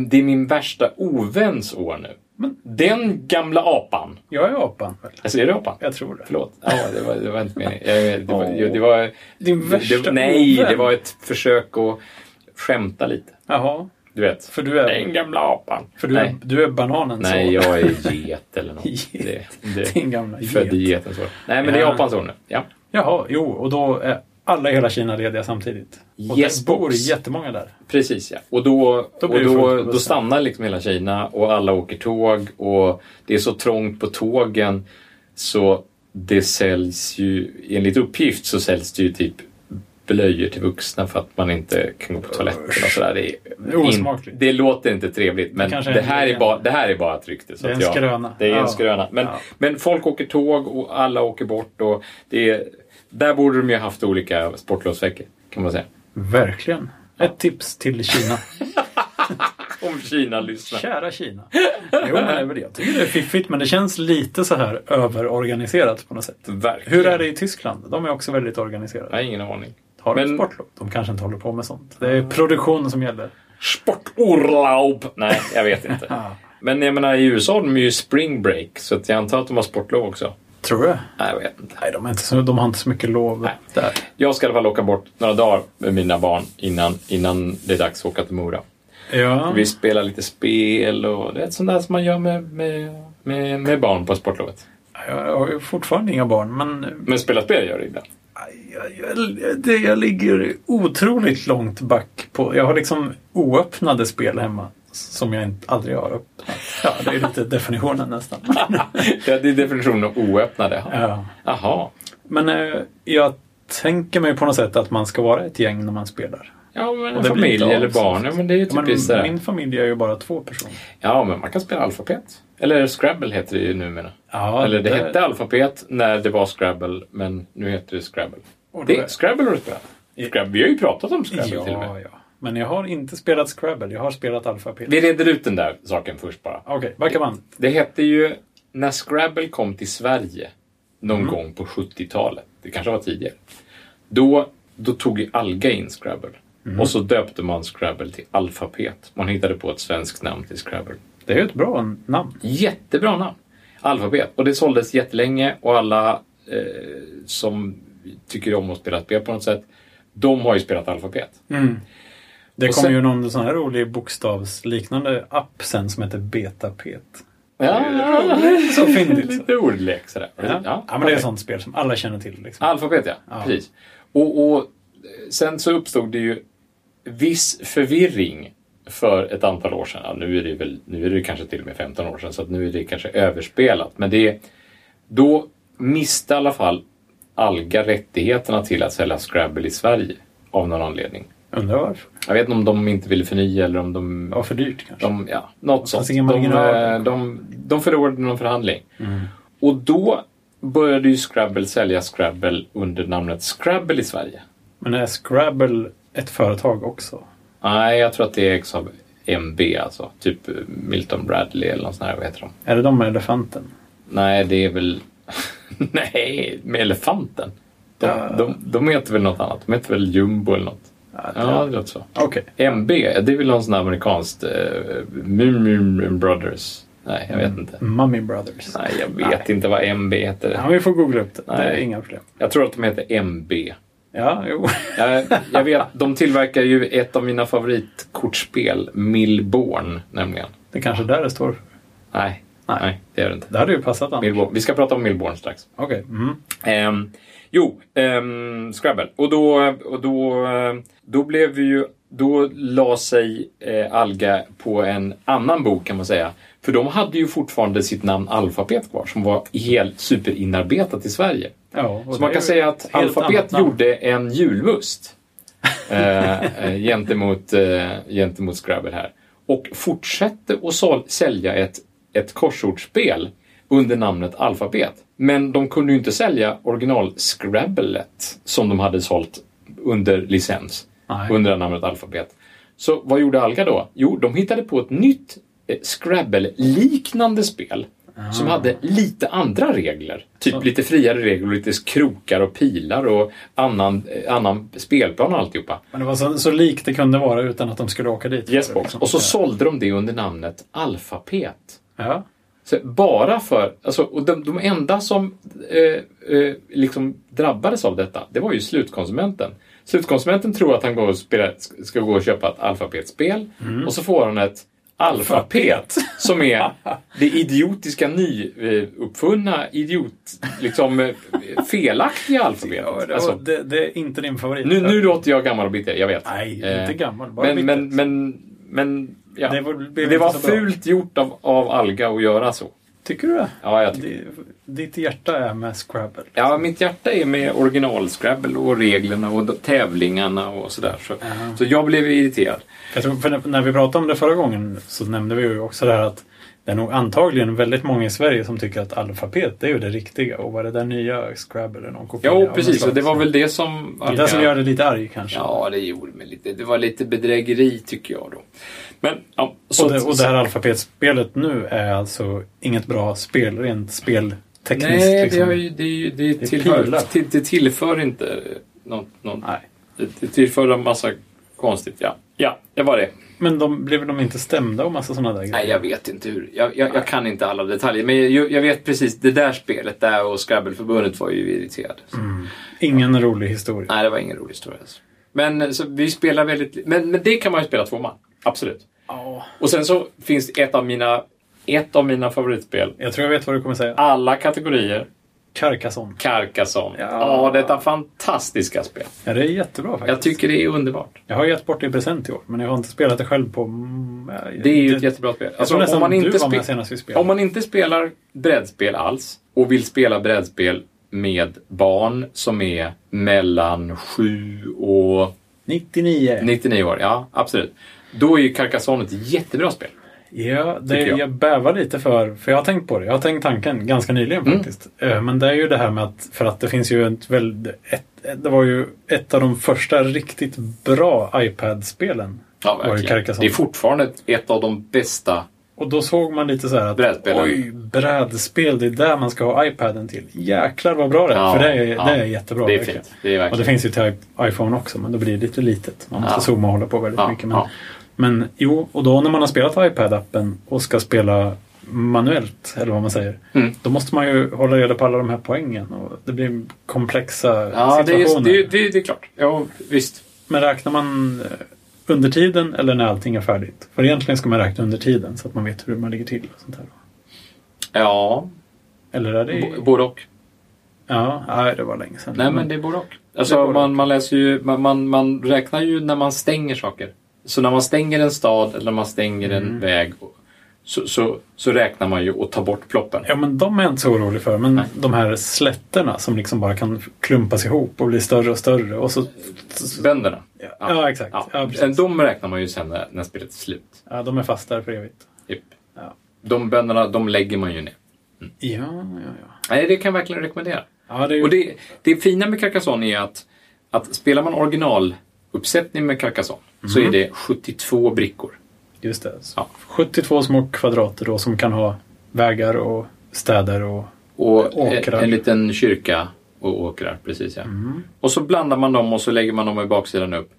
B: det är min värsta oväns år nu. Den gamla apan.
A: Jag är apan själv.
B: Alltså, är det apan?
A: Jag tror det.
B: Förlåt. Ja, det, var, det var inte meningen. Jag- Det var, det var,
A: Din värsta
B: det, nej,
A: ovän.
B: det var ett försök att skämta lite.
A: Jaha,
B: Du vet.
A: för du är,
B: Den gamla apan.
A: för du är,
B: nej.
A: du är bananen
B: nej,
A: så.
B: jag är get eller något.
A: Get.
B: Det, det,
A: Din gamla
B: född i
A: get.
B: getens år. Nej, men det
A: Ja.
B: är apans år nu. Ja.
A: Jaha, jo, och då är alla i hela Kina lediga samtidigt. Och
B: Yes,
A: det bor
B: box.
A: jättemånga där.
B: Precis ja. Och då,
A: Då blir
B: och
A: det fullt på
B: då, då
A: bussen.
B: stannar liksom hela Kina och alla åker tåg och det är så trångt på tågen så det säljs ju, enligt uppgift så säljs det ju typ blöjor till vuxna för att man inte kan gå på toaletten och sådär. Det,
A: Det
B: är
A: är osmakligt.
B: in- det låter inte trevligt men
A: kanske
B: det,
A: är en
B: här är
A: ren-
B: bara, det här är bara ett rykte. Så
A: Det är
B: att
A: en
B: jag,
A: skröna.
B: Det är
A: Ja.
B: en skröna. Men,
A: Ja.
B: men folk åker tåg och alla åker bort och det är, där borde de ju haft olika sportlovsveckor kan man säga.
A: Verkligen. Ett tips till Kina.
B: Om Kina lyssnar.
A: Kära Kina. Jo, men det är väl det. jag tycker det är fiffigt, men det känns lite så här överorganiserat på något sätt.
B: Verkligen.
A: Hur är det i Tyskland? De är också väldigt organiserade.
B: Jag har ingen aning.
A: Har de
B: Men-
A: sportlov? De kanske inte håller på med sånt. Det är produktion som gäller.
B: Sporturlaub! Nej, jag vet inte.
A: Ja.
B: Men jag menar, i USA har de ju spring break, så att jag antar att de har sportlov också.
A: Tror jag.
B: Nej, jag vet inte.
A: Nej, de, är inte så, de har inte så mycket lov
B: Nej.
A: där.
B: Jag ska i alla fall åka bort några dagar med mina barn innan, innan det är dags att åka till Mora.
A: Ja.
B: Vi spelar lite spel och det är sånt där som man gör med, med, med, med barn på sportlovet.
A: Jag har ju fortfarande inga barn, men
B: Men spela spel gör det ibland.
A: aj, aj, jag, det, jag ligger otroligt långt back på... Jag har liksom oöppnade spel hemma som jag inte, aldrig har öppnat. Ja, det är lite definitionen nästan.
B: Ja, det är definitionen av oöppnade.
A: ja.
B: Jaha.
A: Men eh, jag tänker mig på något sätt att man ska vara ett gäng när man spelar.
B: Ja, men
A: Och
B: en
A: det blir
B: familj
A: inte
B: eller
A: av,
B: barn.
A: så.
B: Ja, men det är ju
A: Men
B: typiskt sådär.
A: min familj är ju bara två personer.
B: Ja, men man kan spela alfabet. Eller Scrabble heter det ju numera.
A: Ja,
B: Eller det
A: det-
B: hette alfabet när det var Scrabble, men nu heter det Scrabble.
A: Och då
B: Det,
A: är-
B: Scrabble har du spelat. Scrabble. Vi har ju pratat om Scrabble till och
A: Ja,
B: med.
A: ja. Men jag har inte spelat Scrabble, jag har spelat Alphabet.
B: Vi reder ut den där saken först bara.
A: Okej, verkar man.
B: Det hette ju, när Scrabble kom till Sverige någon
A: Mm.
B: gång på 70-talet, det kanske var tidigare, då, då tog ju Alga in Scrabble.
A: Mm.
B: Och så döpte man Scrabble till alfabet. Man hittade på ett svenskt namn till Scrabble.
A: Det är ju ett bra namn.
B: Jättebra namn! Alfabet. Och det såldes jättelänge och alla eh, som tycker om att spela spel på något sätt, de har ju spelat alfabet.
A: Det
B: Och
A: kom
B: sen-
A: ju någon sån här rolig bokstavsliknande app sen som heter Betapet.
B: Ja,
A: Så fyndigt.
B: lite ordlek sådär.
A: Ja. ja, men det är
B: perfekt.
A: ett sånt spel som alla känner till. Liksom.
B: Alfabet, ja. Precis. Och, och sen så uppstod det ju viss förvirring för ett antal år sedan. Ja, nu, är det väl, nu är det kanske till och med 15 år sedan, så att nu är det kanske överspelat. Men det, då miste i alla fall Alga rättigheterna till att sälja Scrabble i Sverige av någon anledning.
A: Undrar varför.
B: Jag vet inte om de inte ville förnya eller om de...
A: Det var för dyrt kanske.
B: De, ja, något sånt.
A: fanns
B: De,
A: ingen marginal. Mm.
B: eh, de, de förlorade någon förhandling. Och då började ju Scrabble sälja Scrabble under namnet Scrabble i Sverige.
A: Men är Scrabble ett företag också?
B: Nej, jag tror att det ägs av MB, alltså. Typ eh, Milton Bradley eller något sånt här, vad heter de?
A: Är det de med elefanten?
B: Nej, det är väl... Nej, med elefanten. De,
A: Ja.
B: de, de heter väl något annat? De heter väl Jumbo eller något?
A: Ja, det-
B: Ja, det låter så.
A: Okej.
B: MB, det är väl någon sån här amerikanskt... Eh, Mum Mum Brothers. Nej, jag
A: Mm.
B: vet inte.
A: Mummy Brothers.
B: Nej, jag vet inte vad MB heter.
A: Ja, vi får googla upp det. Det är
B: Nej.
A: inga problem.
B: Jag tror att de heter MB.
A: Ja, jo.
B: Jag, jag vet, de tillverkar ju ett av mina favoritkortspel, Millborn, nämligen.
A: Det är kanske där det står.
B: Nej,
A: Nej.
B: nej. det gör det inte.
A: Det hade ju passat annars.
B: Millborn. Vi ska prata om Millborn strax.
A: Okej. Mm.
B: Ehm, jo, ehm, Scrabble. Och då, och då, eh, då blev vi ju... Då la sig eh, Alga på en annan bok kan man säga. För de hade ju fortfarande sitt namn Alfabet kvar som var helt superinarbetat i Sverige.
A: Ja, och
B: Så
A: det
B: man
A: är
B: kan
A: ju
B: säga att
A: ett helt annat
B: Alfabet
A: namn.
B: gjorde en julmust eh, eh, gentemot, eh, gentemot Scrabble här. Och fortsatte att sål- sälja ett, ett korsordsspel under namnet Alfabet. Men de kunde ju inte sälja original-Scrabblet som de hade sålt under licens,
A: Nej.
B: under det här namnet Alfabet. Så vad gjorde Alga då? Jo, de hittade på ett nytt eh, Scrabble-liknande spel som
A: Ah.
B: hade lite andra regler. Typ lite friare regler, och lite krokar och pilar och annan, eh, annan spelplan och alltihopa.
A: Men det var så, så likt det kunde vara utan att de skulle åka dit.
B: Yesbox. Och så
A: Ja.
B: sålde de det under namnet Alphapet.
A: Ja.
B: Så bara för, alltså, och de, de enda som eh, eh, liksom drabbades av detta, det var ju slutkonsumenten. Slutkonsumenten tror att han går och spelar, ska gå och köpa ett alfabetspel
A: Mm.
B: och så får han ett alfabet som är det idiotiska nyuppfunna, idiot, liksom eh, felaktiga alfabetet.
A: Ja, det,
B: Alltså,
A: det, det är inte din favorit.
B: nu, nu låter jag gammal och bitter, jag vet.
A: Nej,
B: Eh,
A: inte gammal. Bara
B: Men,
A: bitter.
B: men, men, men ja.
A: Det
B: det
A: var-
B: var,
A: blev inte så bra.
B: fult gjort av, av Alga att göra så.
A: Tycker du det?
B: Ja, jag tycker
A: Det- Ditt hjärta är med Scrabble.
B: Ja, mitt hjärta är med original-Scrabble och reglerna och d- tävlingarna och sådär. Så, så jag blev irriterad.
A: Jag tror, för när vi pratade om det förra gången så nämnde vi ju också det här att det är nog antagligen väldigt många i Sverige som tycker att alfabet det är ju det riktiga och vad är det där nya Scrabble eller någon kopia?
B: Jo,
A: av något
B: precis.
A: slag.
B: Och det var väl det som...
A: det där som gör det lite arg kanske.
B: Ja, det gjorde mig lite... Det var lite bedrägeri, tycker jag då. Men, ja, så...
A: och, det, och det här alfabetspelet nu är alltså inget bra spel, rent speltekniskt.
B: Nej, det,
A: liksom.
B: har ju, det, är ju- det,
A: Det är pilar.
B: tillför, till, det tillför inte något... något
A: Nej.
B: det, det tillför en massa konstigt, ja. Ja, det var det.
A: Men de blev de inte stämda och massa sådana där grejer?
B: Nej, jag vet inte hur. Jag, jag, jag kan inte alla detaljer. Men jag, jag vet precis, det där spelet där och Scrabbleförbundet var ju irriterad. Så-
A: Ingen rolig historia.
B: Nej, det var ingen rolig historia. Alltså. Men så vi spelar väldigt... Men, men det kan man ju spela två man. Absolut.
A: Ja.
B: Och sen så finns det ett av mina, ett av mina favoritspel.
A: Jag tror jag vet vad du kommer säga.
B: Alla kategorier.
A: Carcassonne.
B: Carcassonne.
A: Ja.
B: Ja, detta fantastiska spel.
A: Ja, det är jättebra faktiskt.
B: Jag tycker det är underbart.
A: Jag har gett bort det i present i år, men jag har inte spelat det själv på... mm,
B: Det är ju ett jättebra spel. Alltså,
A: Jag tror nästan du var med
B: spe-
A: senast vi spelade.
B: Om man inte spelar brädspel alls och vill spela brädspel med barn som är mellan 7 och
A: 99.
B: 99 år, ja absolut. Då är ju Carcassonne ett jättebra spel.
A: Ja, det
B: Tycker
A: jag.
B: jag.
A: bävar lite för, för jag har tänkt på det. Jag har tänkt tanken ganska nyligen
B: Mm.
A: faktiskt. Eh, Men det är ju det här med att, för att det finns ju ett, väl, ett det var ju ett av de första riktigt bra iPad-spelen.
B: Ja,
A: var ju
B: verkligen. Det
A: Carcassonne.
B: är fortfarande ett- ett av de bästa.
A: Och då såg man lite så här att
B: Brädspelen.
A: oj, brädspel, det är där man ska ha iPaden till. Jäklar vad bra det är,
B: Ja,
A: för det är,
B: ja.
A: det är jättebra.
B: Det är
A: verkligen.
B: fint. Det är
A: Och det
B: verkligen.
A: finns ju till i- iPhone också, men då blir det lite litet. Man måste
B: Ja.
A: zooma och hålla på väldigt
B: Ja,
A: mycket. Men,
B: ja.
A: men jo, och då när man har spelat iPad-appen och ska spela manuellt, eller vad man säger,
B: Mm.
A: då måste man ju hålla reda på alla de här poängen. Och det blir komplexa
B: Ja, det är,
A: situationer.
B: det, är, det, är, det är klart. Ja, visst.
A: Men räknar man eh, under tiden eller när allting är färdigt? För egentligen ska man räkna under tiden så att man vet hur man ligger till. Och sånt här.
B: Ja,
A: Eller är det...
B: b- både och.
A: Ja, nej, det var länge sedan.
B: Nej, men det är både och.
A: Det är
B: Alltså,
A: både
B: man,
A: och.
B: man, läser ju, man, man, man räknar ju när man stänger saker. Så när man stänger en stad eller när man stänger
A: Mm.
B: en väg så, så, så räknar man ju och tar bort ploppen.
A: Ja, men de är jag inte så orolig för. Men
B: Nej.
A: de här slätterna som liksom bara kan klumpas ihop och bli större och större. Och så...
B: Bönderna.
A: Ja,
B: Ja.
A: exakt. Ja.
B: Ja.
A: precis.
B: De räknar man ju sen när, när spelet är slut.
A: Ja, de är fast där för evigt.
B: Typ.
A: Ja,
B: De bönderna, de lägger man ju ner.
A: ja, ja. ja.
B: Nej, det kan jag verkligen rekommendera.
A: ja det är ju...
B: Och det, det fina med Carcassonne är att, att spelar man originaluppsättning med Carcassonne så
A: Mm.
B: är det 72 brickor.
A: Just det. Så
B: Ja.
A: 72 små kvadrater då som kan ha vägar och städer och...
B: Och
A: Eh, Åkrar. Mm.
B: en liten kyrka och åkrar, precis ja. Och så blandar man dem och så lägger man dem i baksidan upp.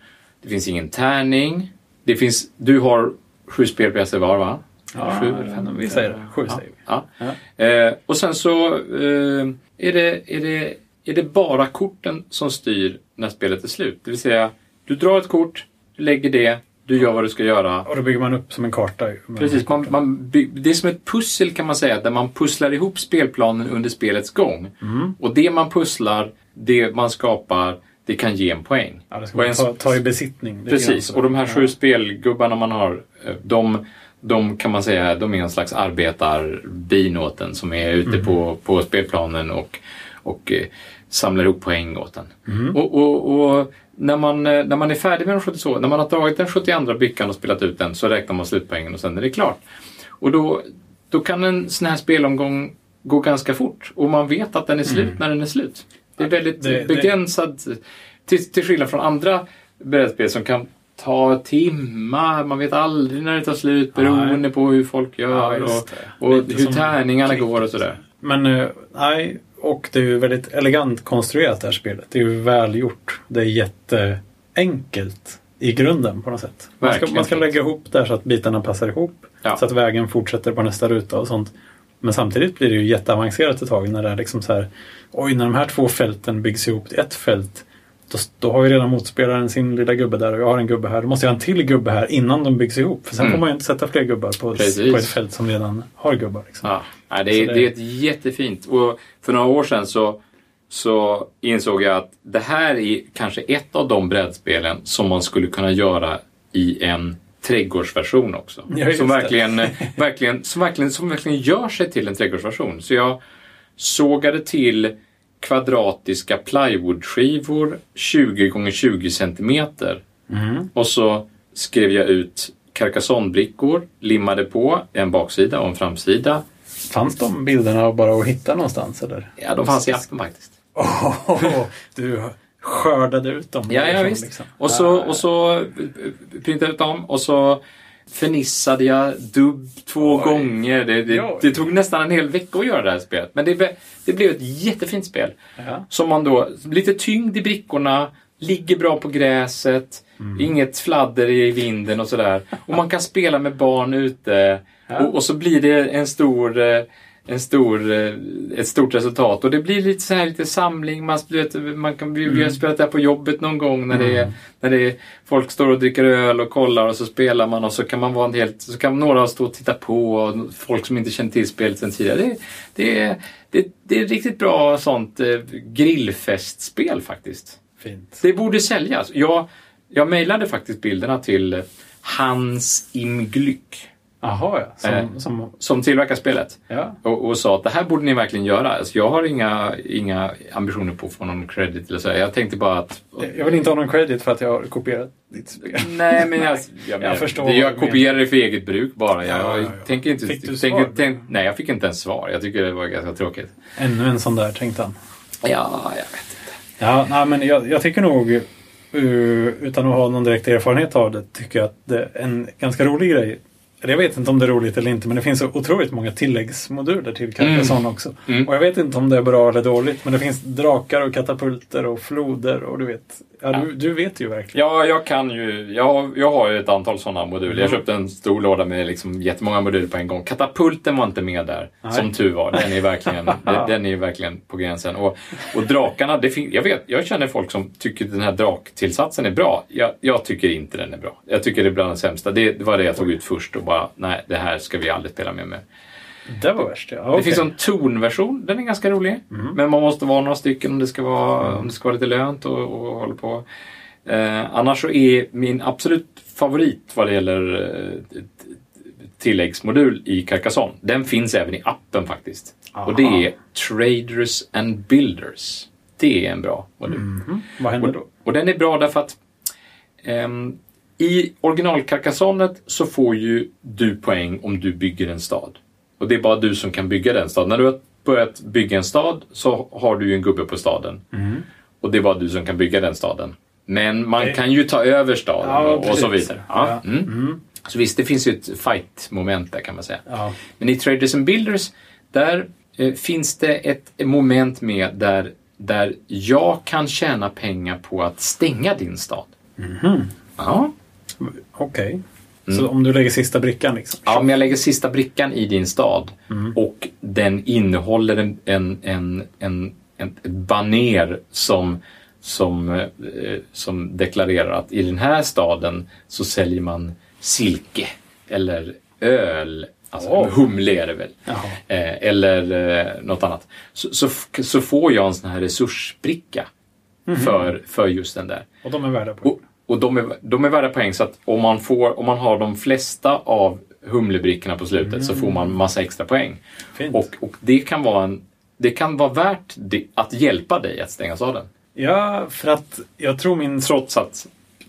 B: Det finns ingen tärning. Det finns, du har sju spelpjäser var va?
A: Ja,
B: sju eller fem?
A: vi säger det. Sju
B: Ja.
A: säger vi.
B: ja. Eh, och sen så eh, är, det, är, det, är det bara korten som styr när spelet är slut. Det vill säga, du drar ett kort, du lägger det, du gör vad du ska göra.
A: Och då bygger man upp som en karta. ju. Men-
B: Precis, man, man, by- det är som ett pussel kan man säga, där man pusslar ihop spelplanen under spelets gång.
A: Mm.
B: Och det man pusslar, det man skapar, det kan ge en poäng.
A: Ja, det ska
B: Och
A: man
B: en-
A: ta, ta i besittning. lite grann
B: Precis,
A: så.
B: och de här sju
A: alltså- Ja.
B: spelgubbarna man har, eh, de, de kan man säga, de är en slags arbetarbin åt en som är ute
A: Mm.
B: på, på spelplanen och, och eh, samlar ihop poäng åt en.
A: Mm.
B: Och, och, och när, man, eh, när man är färdig med den 72, när man har tagit den 72 brickan och spelat ut den så räknar man slutpoängen och sen är det klart. Och då, då kan en sån här spelomgång gå ganska fort och man vet att den är slut när den är slut. Det är väldigt
A: Mm. Det- det-
B: begränsad, till, till skillnad från andra brädspel som kan ta timmar, man vet aldrig när det tar slut beroende
A: Nej.
B: på hur folk gör
A: Ja, just det.
B: och, och
A: Lite
B: hur
A: som
B: tärningarna
A: klick.
B: går och sådär.
A: Men eh, nej, och det är ju väldigt elegant konstruerat det här spelet. Det är ju välgjort. Det är jätteenkelt i grunden på något sätt. Man ska,
B: Verkligen
A: man ska
B: fint.
A: lägga ihop där så att bitarna passar ihop.
B: Ja.
A: Så att vägen fortsätter på nästa ruta och sånt. Men samtidigt blir det ju jätteavancerat ett tag när det är liksom så här Oj, när de här två fälten byggs ihop till ett fält då, då har ju redan motspelaren sin lilla gubbe där och jag har en gubbe här. Då måste jag ha en till gubbe här innan de byggs ihop. För sen
B: Mm.
A: får man ju inte sätta fler gubbar på,
B: Precis.
A: på ett fält som redan har gubbar. Liksom.
B: Ja. Nej, det,
A: Så
B: är,
A: det-
B: det är ett jättefint. Och för några år sedan så, så insåg jag att det här är kanske ett av de brädspelen som man skulle kunna göra i en trädgårdsversion också.
A: Ja, just
B: som,
A: det.
B: verkligen, eh, verkligen, som, verkligen, som verkligen gör sig till en trädgårdsversion. Så jag sågade till kvadratiska plywoodskivor 20 x 20 centimeter
A: Mm.
B: och så skrev jag ut Carcassonne-brickor, limmade på en baksida och en framsida.
A: Fanns de bilderna bara att hitta någonstans eller?
B: Ja, de fanns i asken faktiskt.
A: Åh, du skördade ut dem.
B: Ja, ja
A: därifrån,
B: visst.
A: liksom.
B: Och så, och så eh, printade jag ut dem och så fernissade jag dubb två
A: Oj.
B: gånger. Det, det,
A: Oj.
B: det tog nästan en hel vecka att göra det här spelet. Men det, blev- det blev ett jättefint spel.
A: Ja.
B: Som man då, lite tyngd i brickorna, ligger bra på gräset, inget fladder i vinden och sådär. Och man kan spela med barn ute. Och, och så blir det en stor, eh, en stor, eh, ett stort resultat. Och det blir lite så här lite samling. Man, du vet, man kan, vi, vi har spelat det här på jobbet någon gång när, det, är- när det är, folk står och dricker öl och kollar och så spelar man och så kan man vara en helt, så kan några stå och titta på och folk som inte känner till spelet sedan tidigare. Det, det, är- det, det är ett riktigt bra sånt eh, grillfestspel faktiskt.
A: Fint.
B: Det borde säljas. Jag, jag mejlade faktiskt bilderna till Hans Im Glück
A: Jaha, ja. Som,
B: Eh.
A: som,
B: som tillverkar spelet
A: ja.
B: och, och sa att det här borde ni verkligen göra. Alltså, jag har inga, inga ambitioner på att få någon credit eller så. här. Jag tänkte bara att...
A: Jag vill inte ha någon credit för att jag har kopierat ditt spel.
B: Nej, men jag, jag,
A: jag förstår
B: det,
A: vad
B: jag
A: du menar.
B: kopierar det för eget bruk bara. Jag,
A: Ja, ja, ja.
B: tänker inte...
A: Fick du
B: tänker,
A: svar?
B: tänk, nej, jag fick inte ens svar. Jag tycker det var ganska tråkigt.
A: Ännu en sån där, tänkte han.
B: Ja, jag vet.
A: Ja, nej, men jag, jag tycker nog, eh, utan att ha någon direkt erfarenhet av det, tycker jag att det är en ganska rolig grej. Eller Jag vet inte om det är roligt eller inte, men det finns så otroligt många tilläggsmoduler till Carcassonne också.
B: Mm.
A: Och jag vet inte om det är bra eller dåligt, men det finns drakar och katapulter och floder och du vet. Ja, Du, du vet ju verkligen.
B: Ja, jag kan ju... Jag, har- jag har ju ett antal sådana moduler.
A: Mm.
B: Jag köpte en stor låda med liksom jättemånga moduler på en gång. Katapulten var inte med där,
A: Nej.
B: som tur var. Den är verkligen, den, den är ju verkligen på gränsen. Och, och drakarna, det fin, jag, vet, jag känner folk som tycker den här draktillsatsen är bra. Jag, jag tycker inte den är bra. Jag tycker det är bland det sämsta. Det, det var det jag tog ut först och bara, nej, det här ska vi aldrig spela med. med.
A: Det var värst. Ja, okej. Mhm.
B: Det finns en tonversion, den är ganska rolig. Men man måste vara några stycken om det ska vara,
A: Mm.
B: om det ska vara lite lönt och, och hålla på. Eh, annars så är min absolut favorit vad det gäller eh, t- t- tilläggsmodul i Carcassonne, den finns även i appen faktiskt.
A: Aha.
B: Och det är Traders and Builders. Det är en bra modul.
A: Mm. Vad händer
B: Och,
A: då?
B: och den är bra därför att ehm, i originalkarkassonet så får ju du poäng om du bygger en stad. Och det är bara du som kan bygga den staden. När du har börjat bygga en stad så har du ju en gubbe på staden. Och det är bara du som kan bygga den staden. Men man
A: Mm. Det-
B: kan ju ta över staden
A: Ja,
B: och, och så
A: precis.
B: vidare. Ja.
A: Ja.
B: Mm. Så visst, det finns ju ett fight-moment där kan man säga.
A: Ja.
B: Men i Traders and Builders, där eh, finns det ett moment med där, där jag kan tjäna pengar på att stänga din stad. Ja.
A: Okej.
B: Mm.
A: Så om du lägger sista brickan liksom?
B: ja, om jag lägger sista brickan i din stad
A: Mm.
B: och den innehåller en, en, en, en, en ett baner som som, eh, som deklarerar att i den här staden så säljer man silke eller öl. Alltså
A: Åh.
B: humle är det väl.
A: Jaha.
B: Eh, eller eh, något annat. Så, så, f- så får jag en sån här resursbricka
A: Mhm.
B: för, för just den där.
A: Och de är värda på
B: Och, och de, är, de är värda poäng så att om man, får, om man har de flesta av humlebrickorna på slutet så får man massa extra poäng.
A: Fint.
B: Och, och det, kan vara en, det kan vara värt det, att hjälpa dig att stänga staden.
A: Ja, för att jag tror min...
B: Trots att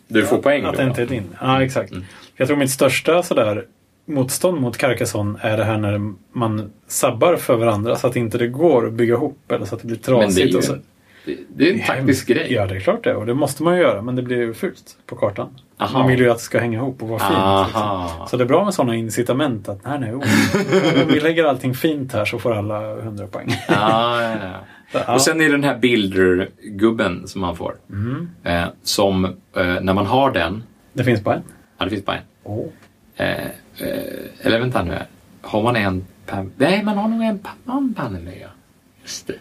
B: du får poäng.
A: Att
B: då. Mm.
A: det inte är din. Ja, exakt. Jag tror mitt största sådär motstånd mot Carcassonne är det här när man sabbar för varandra så att inte det går att bygga ihop eller så att det blir trasigt.
B: Men det är ju
A: och så.
B: en, det, det är en taktisk grej.
A: Ja, det är klart det. Och det måste man ju göra, men det blir ju fult på kartan.
B: Aha.
A: Man vill ju att det ska hänga ihop och vara fint.
B: Aha.
A: Liksom. Så det är bra med sådana incitament att nej, nej, oh, om vi lägger allting fint här så får alla 100 poäng.
B: Ah, ja, ja.
A: Så, ja.
B: Och sen är det den här
A: Mm.
B: builder-gubben som man får. Eh, som, eh, när man har den
A: Det finns bara en.
B: Ja, det finns bara en. Eh, eh, eller vänta nu. här. Har man en pan... Nej, man har nog en, pa- man har en pannluva. Just det.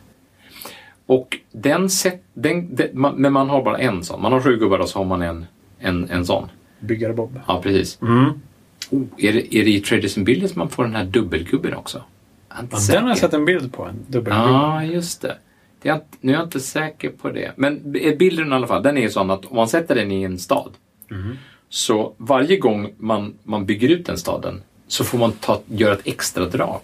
B: Och den sätt... Den, den, man, men man har bara en sån. Man har sju gubbar och så har man en, en, en sån.
A: Byggare Bob.
B: Ja, precis.
A: Mm.
B: Oh, är, det, är det i Traders and Builders man får den här dubbelgubben också? Jag är inte
A: Ja,
B: säker.
A: den har jag sett en bild på. En dubbel
B: Ja, just det. det är, inte- nu är jag inte säker på det. Men b- eh, bilden i alla fall, den är ju sån att om man sätter den i en stad Mm. så varje gång man, man bygger ut den staden så får man ta, göra ett extra drag.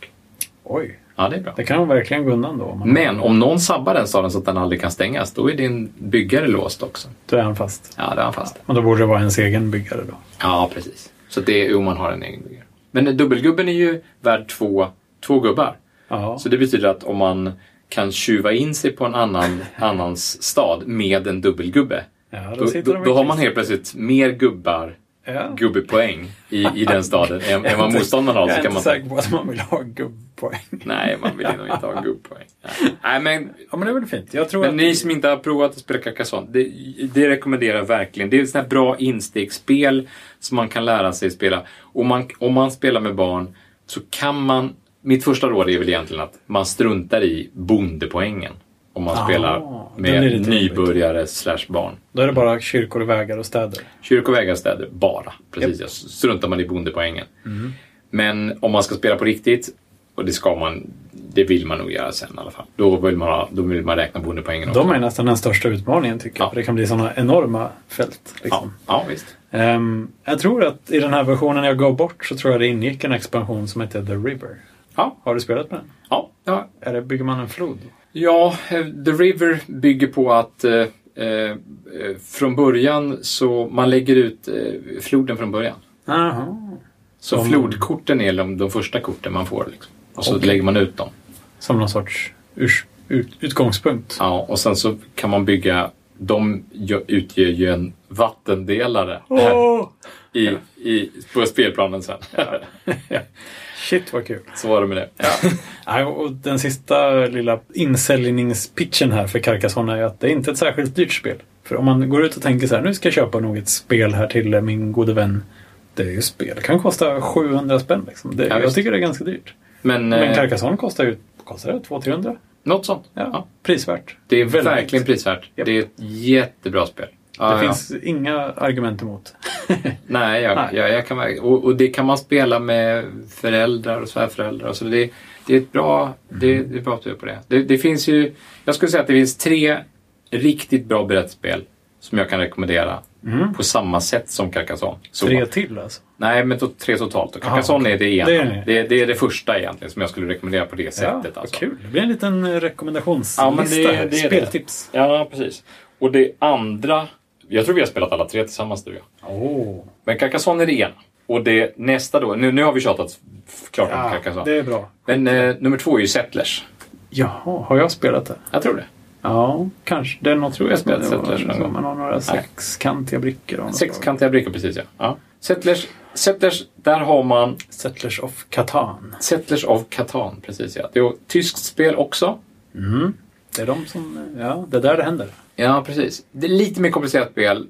A: Oj,
B: Ja, det är bra.
A: det kan man verkligen gå undan då. Om man
B: Men om någon sabbar den staden så att den aldrig kan stängas, då är din byggare låst också.
A: Då är han fast.
B: Ja, det är han fast.
A: Men då borde det vara ens egen byggare då.
B: Ja, precis. Så det är om man har en egen byggare. Men dubbelgubben är ju värd två, två gubbar.
A: Ja.
B: Så det betyder att om man kan tjuva in sig på en annan, annans stad med en dubbelgubbe,
A: Ja, då
B: då,
A: sitter
B: då,
A: de i
B: då har man
A: kryss.
B: helt plötsligt mer gubbar,
A: Ja. gubben
B: gubbepoäng, i, i den staden än, än vad motståndaren har.
A: Jag
B: Så
A: är
B: kan
A: inte
B: man
A: säker på att alltså, man vill ha gubbpoäng.
B: Nej, man vill nog inte ha gubbpoäng. Nej. Nej, men,
A: Ja, men det är väl fint. Jag tror
B: men
A: att...
B: ni som inte har provat att spela Carcassonne, det, det rekommenderar jag verkligen. Det är ett sånt här bra instegsspel som man kan lära sig spela. Och man, om man spelar med barn så kan man... Mitt första råd är väl egentligen att man struntar i bondepoängen om man
A: Ah,
B: spelar
A: den är
B: med
A: lite
B: nybörjare slash barn.
A: Då är det bara kyrkor, vägar och städer.
B: Kyrkor, vägar, städer, bara. Precis, ja. struntar man i bondepoängen.
A: Mhm.
B: Men om man ska spela på riktigt, och det ska man, det vill man nog göra sen i alla fall. Då vill man, ha, då vill man räkna bondepoängen också.
A: De är liksom- nästan den största utmaningen tycker jag.
B: Ja.
A: För det kan bli sådana enorma fält.
B: ja,
A: Liksom.
B: ja, visst.
A: Ehm, jag tror att i den här versionen jag går bort så tror jag det ingick en expansion som hette The River.
B: Ja,
A: Har du spelat med den?
B: ja, ja.
A: Är det, bygger man en flod?
B: ja, eh, The River bygger på att eh, eh, eh, från början så man lägger ut eh, floden från början.
A: Aha.
B: Så
A: Som-
B: flodkorten är de, de första korten man får. Liksom. Och så
A: Okej.
B: lägger man ut dem.
A: Som någon sorts urs, ut, utgångspunkt.
B: Ja, och sen så kan man bygga... De gö- utgör ju en vattendelare
A: Åh!
B: i, i, på spelplanen sen.
A: Shit vad kul.
B: så var det med det.
A: Nej, och den sista lilla insäljningspitchen här för Carcassonne är ju att det är inte ett särskilt dyrt spel. För om man går ut och tänker så här, nu ska jag köpa något spel här till eh, min gode vän. Det är ju spel, det kan kosta 700 spänn. Liksom. Det,
B: Ja,
A: jag
B: visst.
A: tycker det är ganska dyrt.
B: Men,
A: Men
B: eh,
A: Carcassonne kostar ju kostar det 200-300.
B: något sånt.
A: Ja,
B: Ja.
A: Prisvärt.
B: Det är
A: Väldigt.
B: verkligen prisvärt.
A: Japp.
B: Det är ett jättebra spel.
A: Det
B: Ja, ja.
A: finns inga argument emot.
B: Nej, jag,
A: Nej.
B: Jag, jag kan, verk- och, och det kan man spela med föräldrar och svärföräldrar. och Så det, det är ett bra, det,
A: Mm.
B: det är bra tur på det. det. Det finns ju, jag skulle säga att det finns tre riktigt bra brettspel som jag kan rekommendera på samma sätt som Carcassonne. Så-
A: Mm. Tre till alltså.
B: Nej, men to, tre totalt. Och Carcassonne
A: okej.
B: är det
A: Det
B: ena.
A: är
B: Det,
A: det.
B: det, är det första egentligen som jag skulle rekommendera på det
A: Ja,
B: sättet.
A: vad
B: alltså.
A: kul. Det blir en liten eh, rekommendationslista
B: Ja, men det-
A: här.
B: det är det.
A: Speltips.
B: Ja, precis. Och det andra, jag tror vi har spelat alla tre tillsammans du och jag.
A: Åh.
B: Men Carcassonne är det ena. Och det nästa då, nu, nu har vi tjatat f- klart om
A: Ja,
B: Carcassonne.
A: det är bra.
B: Men eh, nummer två är ju Settlers.
A: Jaha, har jag spelat det?
B: Jag tror det.
A: Ja, kanske. Det är något tror jag
B: Jag har
A: spelat
B: inte sett det någon gång.
A: Man har några sexkantiga brickor. av något slag.
B: Sexkantiga brickor precis ja. ja. Settlers, Settlers, där har man
A: Settlers of Catan.
B: Settlers of Catan. Precis ja. Det är ju ett tyskt spel också.
A: Det är de som... Ja, det är där det händer.
B: Ja, precis. Det är lite mer komplicerat spel.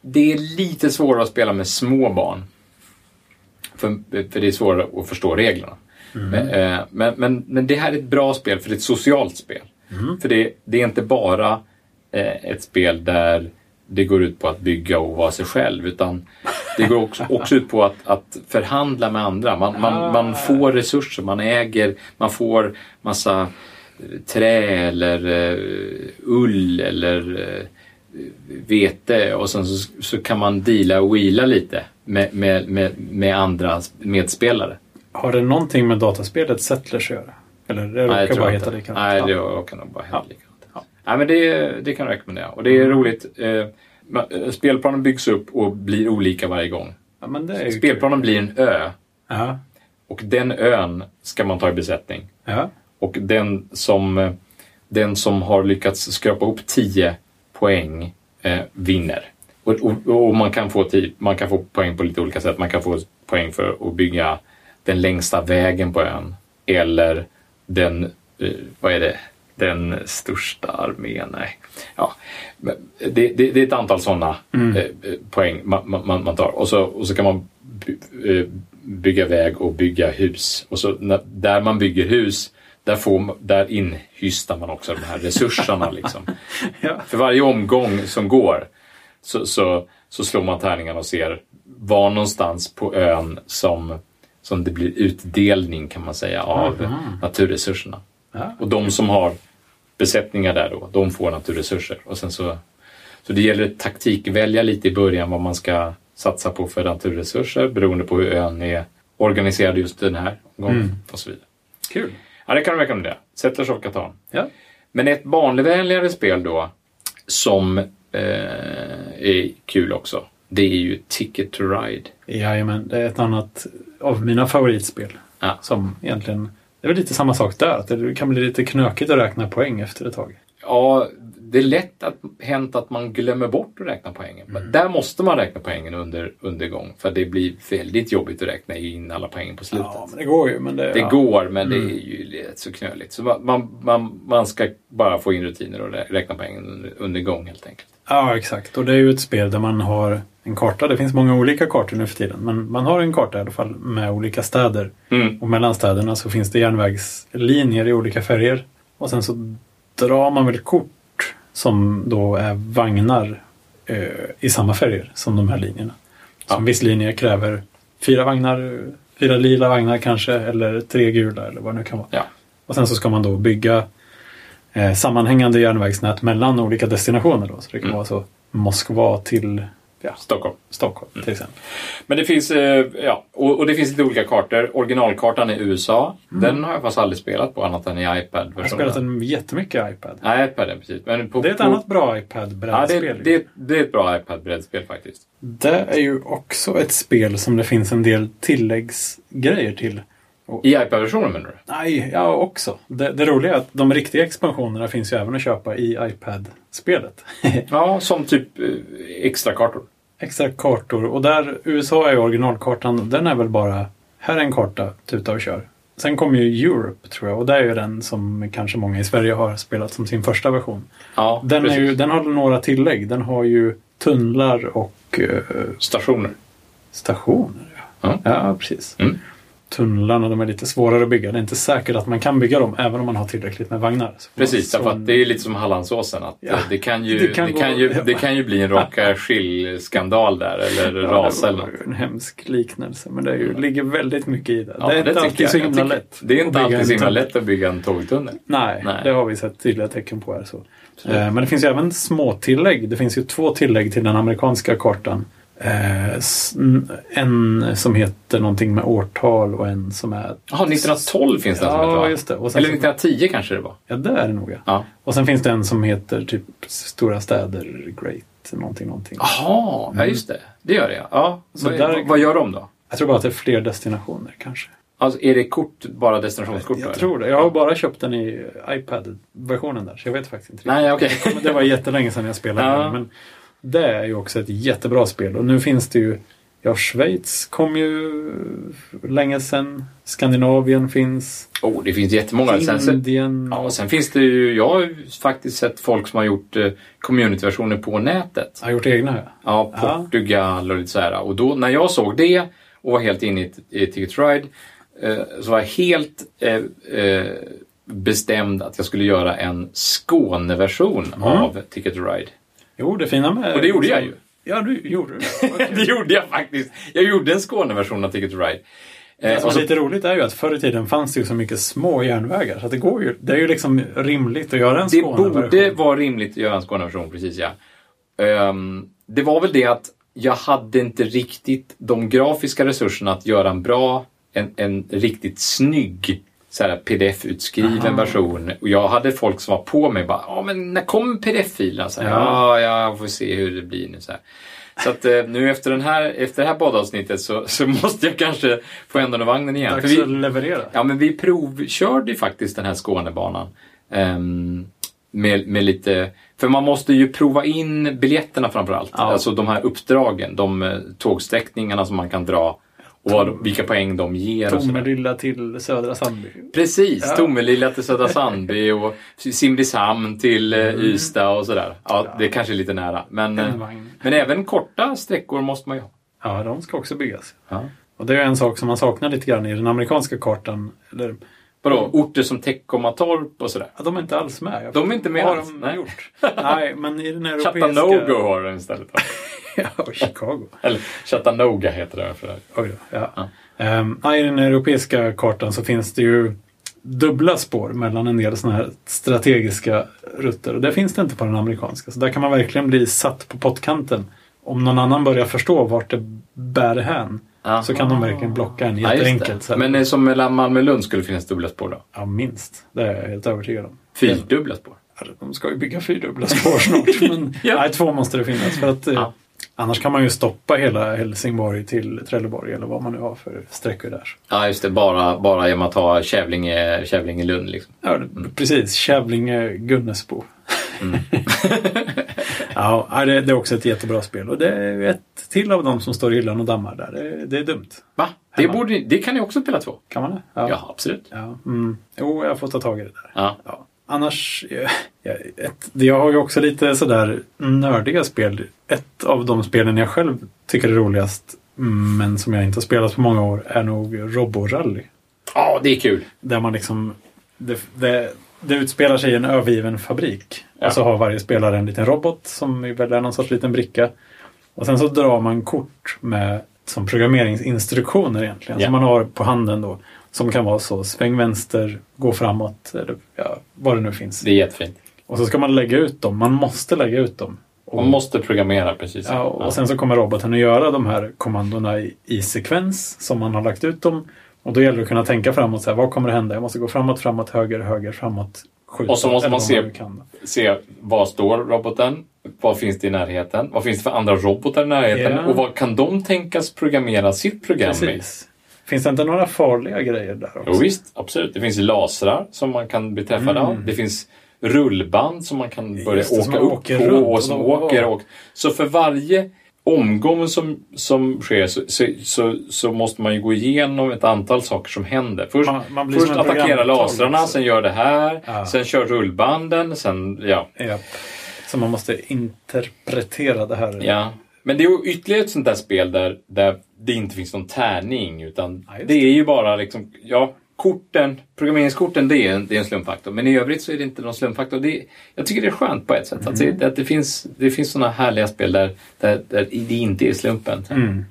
B: Det är lite svårare att spela med små barn. För, för det är svårare att förstå reglerna. Men, eh, men, men, men det här är ett bra spel, för det är ett socialt spel. För det, det är inte bara eh, ett spel där det går ut på att bygga och vara sig själv, utan det går också, också ut på att, att förhandla med andra. Man, man, man får resurser, man äger, man får massa eh, trä eller eh, ull eller eh, vete och sen så, så kan man deala och wheela lite med, med, med, med andra medspelare.
A: Har det någonting med dataspelet Settlers att göra? Eller det
B: Nej, jag
A: råkar
B: tror
A: bara
B: inte.
A: heta likadant?
B: Nej,
A: Ja. Mm.
B: det råkar nog bara heta likadant. Ja. Nej, men det, det kan jag rekommendera. Och det är roligt. Eh, ma- eh, Spelplanen byggs upp och blir olika varje gång.
A: Ja, men det är ju kul.
B: Spelplanen blir en ö
A: Ja.
B: och den ön ska man ta i besättning.
A: ja.
B: Och den som, eh, den som har lyckats skrapa upp 10 poäng eh, vinner. Och, och, och man, kan få ti- man kan få poäng på lite olika sätt. Man kan få poäng för att bygga den längsta vägen på ön. Eller den, eh, vad är det, den största armén. Nej. Ja. men Det, det, det är ett antal sådana eh, poäng man, man, man tar. Och så, och så kan man by, eh, bygga väg och bygga hus. Och så när, där man bygger hus, där, får, man- där inhystar man också de här resurserna. liksom.
A: Ja.
B: För varje omgång som går så, så, så slår man tärningarna och ser var någonstans på ön som, som det blir utdelning kan man säga av naturresurserna.
A: Ja.
B: Och de som har besättningar där då, de får naturresurser. Och sen så, så det gäller att taktikvälja lite i början vad man ska satsa på för naturresurser beroende på hur ön är organiserad just den här omgången och så vidare.
A: Kul.
B: Ja, det kan jag rekommendera. Settlers of Catan.
A: Ja.
B: Men ett barnvänligare spel då, som eh, är kul också, det är ju Ticket to Ride.
A: Jajamän, det är ett annat av mina favoritspel.
B: Ja.
A: Som egentligen, det är väl lite samma sak där, att det kan bli lite knökigt att räkna poäng efter ett tag.
B: Ja, det är lätt att, hänt att man glömmer bort att räkna poängen. Men Där måste man räkna poängen under, under gång, för det blir väldigt jobbigt att räkna in alla poängen på slutet.
A: Ja, men det går ju. Men det,
B: Det
A: ja.
B: går, men det är ju rätt så knöligt. Så man- man, man, man ska bara få in rutiner och rä- räkna poängen under, under gång helt enkelt.
A: Ja, exakt. Och det är ju ett spel där man har en karta. Det finns många olika kartor nu för tiden, men man har en karta i alla fall med olika städer.
B: Mm.
A: Och mellan städerna så finns det järnvägslinjer i olika färger. Och sen så drar man väl kort som då är vagnar eh, i samma färger som de här linjerna. Så
B: Ja.
A: en viss linje kräver fyra vagnar, eh, fyra lila vagnar kanske, eller tre gula eller vad det nu kan vara.
B: Ja.
A: Och sen så ska man då bygga eh, sammanhängande järnvägsnät mellan olika destinationer. Då. Så det kan
B: Mm.
A: vara så Moskva till ja,
B: Stockholm.
A: Stockholm till
B: Mm.
A: exempel.
B: Men det finns, eh, ja, och, och det finns lite olika kartor. Originalkartan i USA, den har jag fast aldrig spelat på annat än i
A: Jag har spelat
B: iPad-versionen.
A: en jättemycket iPad.
B: Nej, iPaden precis. Men på,
A: Det är ett
B: på,
A: annat bra
B: ja,
A: iPad-brädspel.
B: det,
A: ju.
B: det, det är ett bra iPad-brädspel faktiskt.
A: Det är ju också ett spel som det finns en del tilläggsgrejer till.
B: I iPad-versionen menar du?
A: Nej, ja också. Det, det roliga är att de riktiga expansionerna finns ju även att köpa i iPad-spelet.
B: Ja, som typ eh, extra kartor.
A: Extra kartor. Och där, USA är ju originalkartan, den är väl bara här är en karta, tuta och kör. Sen kommer ju Europe tror jag och det är ju den som kanske många i Sverige har spelat som sin första version.
B: Ja,
A: Den, är
B: precis.
A: ju, den har några tillägg. Den har ju tunnlar och eh,
B: Stationer.
A: Stationer, ja.
B: Ja.
A: Ja, precis.
B: Mm.
A: Tunnlarna de är lite svårare att bygga. Det är inte säkert att man kan bygga dem även om man har tillräckligt med vagnar. Så
B: Precis,
A: så-
B: därför att det är lite som Hallandsåsen. Att
A: Ja,
B: eh, det, kan ju,
A: det
B: det,
A: kan
B: kan
A: gå-
B: ju, det kan ju bli en raka skillskandal där, eller
A: Ja,
B: ras
A: det
B: eller
A: var
B: något.
A: ju en hemsk liknelse, men det är ju, ligger väldigt mycket i det.
B: Ja,
A: det är inte
B: tycker
A: alltid
B: jag.
A: så
B: Jag
A: himla
B: tycker-
A: lätt.
B: Det är
A: att
B: inte
A: bygga
B: alltid så
A: en
B: himla
A: tunnel.
B: lätt att bygga en tågtunnel.
A: Nej,
B: Nej.
A: det har vi sett tydliga tecken på här. Så. Eh, men det finns ju även små tillägg. Det finns ju två tillägg till den amerikanska kartan. Eh, s- n- en som heter någonting med årtal och en som är...
B: Jaha, 1912 finns det en som heter,
A: Ja,
B: va?
A: just det. Och sen
B: Eller
A: så-
B: 1910 kanske det var.
A: Ja, det är det nog. Ja.
B: Ja.
A: Och sen finns det en som heter typ Stora städer, Great, någonting, någonting.
B: Jaha, ja just det. Det gör det ja. ja.
A: Så
B: vad,
A: där-
B: vad gör de då?
A: Jag tror bara att det är fler destinationer kanske.
B: Alltså, är det kort, bara destinationskort? då,
A: Jag
B: eller?
A: tror det. Jag har bara köpt den i iPad-versionen där, så jag vet faktiskt inte. riktigt.
B: Nej, okej.
A: Men det var jättelänge sedan jag spelade
B: Ja.
A: den. Men det är ju också ett jättebra spel. Och nu finns det ju... Ja, Schweiz kom ju länge sedan. Skandinavien finns.
B: oh, det finns jättemånga. Sen, sen,
A: Indien.
B: ja, sen finns det ju, jag har ju faktiskt sett folk som har gjort eh, communityversioner på nätet.
A: Jag har gjort egna. ja.
B: Ja,
A: Ja.
B: Portugal och lite så här. Och då, när jag såg det och var helt inne i, i Ticket to Ride eh, så var jag helt eh, eh, bestämd att jag skulle göra en Skåneversion
A: Mm.
B: av Ticket to Ride.
A: Jo, det fina med...
B: Och det gjorde jag ju.
A: Ja, du gjorde det. Okej.
B: det gjorde jag faktiskt. Jag gjorde en Skåneversion av Ticket to Ride.
A: Det
B: Eh,
A: som
B: och
A: är
B: så,
A: lite roligt är ju att förr i tiden fanns det ju så mycket små järnvägar. Så att det, går ju, det är ju liksom rimligt att göra en
B: det
A: Skåneversion.
B: borde vara rimligt att göra en Skåneversion, precis ja. Ehm, det var väl det att jag hade inte riktigt de grafiska resurserna att göra en bra, en, en riktigt snygg så här pdf-utskriven version. Och jag hade folk som var på mig bara ja men när kommer pdf-filen? Så här, ja. ja, jag får se hur det blir nu. Så, här. så att eh, nu efter, den här, efter det här poddavsnittet så, så måste jag kanske få ändan och vagnen igen. För
A: Dags
B: vi-
A: att leverera.
B: Ja, men vi provkörde ju faktiskt den här Skånebanan. ehm, med, med lite, för man måste ju prova in biljetterna framför allt.
A: Ja.
B: Alltså de här uppdragen, de eh, tågsträckningarna som man kan dra. Och vad, vilka poäng de ger och sådär.
A: Tomelilla till Södra Sandby.
B: Precis,
A: Ja.
B: Tomelilla till Södra Sandby och Simrishamn till
A: Mm.
B: eh, Ystad och sådär. Ja, det kanske är lite nära. Men,
A: En
B: eh,
A: vagn.
B: men även korta sträckor måste man ju ha.
A: Ja, de ska också byggas.
B: Ja.
A: Och det är en sak som man saknar lite grann i den amerikanska kartan. Eller,
B: Vadå, orter som Teckomatorp och sådär?
A: ja, de är inte alls med. Jag
B: De är inte med
A: har
B: alls,
A: de
B: nej.
A: gjort. Nej, men i den europeiska...
B: Chattanooga har de istället. va?
A: ja, och Chicago.
B: Eller Chattanooga heter det. För det.
A: Oj då, ja.
B: Ja.
A: Ehm, ja, I den europeiska kartan så finns det ju dubbla spår mellan en del sådana här strategiska rutter. Och det finns det inte på den amerikanska. Så där kan man verkligen bli satt på pottkanten. Om någon annan börjar förstå vart det bär hän så kan de verkligen blocka en
B: Ja, just det.
A: jätteenkelt. så här.
B: Men eh, som mellan Malmö och Lund skulle finnas dubbla spår då?
A: Ja, minst. Det är jag helt övertygad om.
B: Fyrdubbla spår?
A: Ja, Alltså, De ska ju bygga fyrdubbla spår snart. Men
B: Ja.
A: nej, två måste det finnas. För att, eh,
B: Ja.
A: Annars kan man ju stoppa hela Helsingborg till Trelleborg eller vad man nu har för sträckor där.
B: Ja, just det. Bara, bara genom att ha Kävlinge, Kävlinge Lund liksom.
A: Ja, precis. Kävlinge Gunnesbo. ja, nej, det, det är också ett jättebra spel. Och det är ju ett till av dem som står i hyllan och dammar där. Det, det är dumt.
B: Va? Det,
A: Hemma.
B: borde, det kan ni också spela två?
A: Kan man det?
B: Ja,
A: Ja.
B: absolut.
A: ja. Mm. Jo, jag får ta tag i det där.
B: Ja.
A: Ja. Annars, eh, jag, ett, jag har ju också lite sådär nördiga spel. Ett av de spelen jag själv tycker är roligast, mm, men som jag inte har spelat på många år, är nog Roborally.
B: Ja, det är kul.
A: Där man liksom, det, det, det utspelar sig i en övergiven fabrik.
B: Ja.
A: Och så har varje spelare en liten robot som ju väl är någon sorts liten bricka. Och sen så drar man kort med som programmeringsinstruktioner egentligen,
B: Ja.
A: som man har på handen då. Som kan vara så, sväng vänster, gå framåt, eller ja, vad det nu finns.
B: Det är jättefint.
A: Och så ska man lägga ut dem. Man måste lägga ut dem. Och,
B: Man måste programmera precis.
A: ja, och sen så kommer roboten att göra de här kommandona i, i sekvens som man har lagt ut dem. Och då gäller det att kunna tänka framåt. Så här, vad kommer att hända? Jag måste gå framåt, framåt, höger, höger, framåt, skjuta.
B: Och så måste
A: eller
B: man
A: vad
B: se-
A: nu kan.
B: Se, vad står roboten? Vad finns det i närheten? Vad finns det för andra robotar i närheten?
A: Ja.
B: Och vad kan de tänkas programmera sitt program med?
A: Precis. Finns det inte några farliga grejer där också?
B: Jo, visst, absolut. Det finns lasrar som man kan bli träffad av. Det finns rullband som man kan börja
A: Mm. Just det, som
B: åka
A: man
B: upp
A: åker
B: på
A: runt
B: och
A: och
B: som
A: de-
B: åker. Och, så för varje omgång som, som sker så, så, så, så måste man ju gå igenom ett antal saker som händer. Först,
A: Man- man blir
B: först
A: som en
B: attackerar
A: programtavla
B: lasrarna,
A: också.
B: sen gör det här,
A: Ja.
B: sen kör rullbanden, sen ja.
A: Ja. Så man måste interpretera det här.
B: Ja. Men det är ju ytterligare ett sånt där spel där, där det inte finns någon tärning. Utan
A: Ja, just
B: det är ju bara liksom, ja, korten, programmeringskorten, det är, en, det är en slumpfaktor. Men i övrigt så är det inte någon slumpfaktor. Det, jag tycker det är skönt på ett sätt. Att,
A: Mm.
B: det, att det finns, det finns såna härliga spel där, där, där det inte är slumpen.
A: Mm.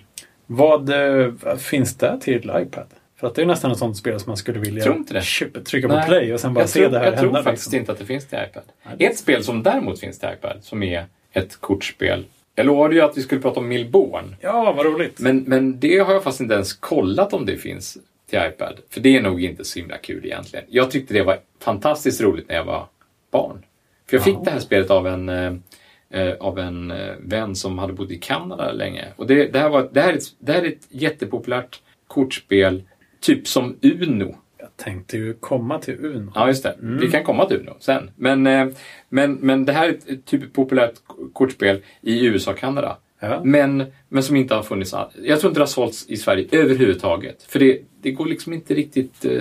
A: Vad eh, finns det till iPad? För att det är nästan ett sånt spel som man skulle vilja
B: Tror inte det.
A: köpa- trycka på
B: Nej.
A: play och sen bara
B: jag
A: se
B: tror,
A: det här
B: Jag tror
A: hända.
B: faktiskt
A: liksom.
B: inte att det finns till iPad.
A: det-
B: Ett spel som däremot finns till iPad, som är ett kortspel. Jag lovade ju att vi skulle prata om Milborn.
A: Ja, vad roligt.
B: Men, men det har jag faktiskt inte ens kollat om det finns till iPad. För det är nog inte så himla kul egentligen. Jag tyckte det var fantastiskt roligt när jag var barn. För jag fick det här spelet av en, eh, eh, av en eh, vän som hade bott i Kanada länge. Och det, det, här, var, det, här, är ett, det här är ett jättepopulärt kortspel, typ som Uno.
A: Jag tänkte ju komma till Uno.
B: Ja, just det. Vi kan komma till Uno sen. Men, eh, men, men det här är ett typ populärt kortspel i USA och Kanada.
A: Ja.
B: Men, men som inte har funnits all... Jag tror inte det har sålts i Sverige överhuvudtaget. För det, det går liksom inte riktigt... Eh,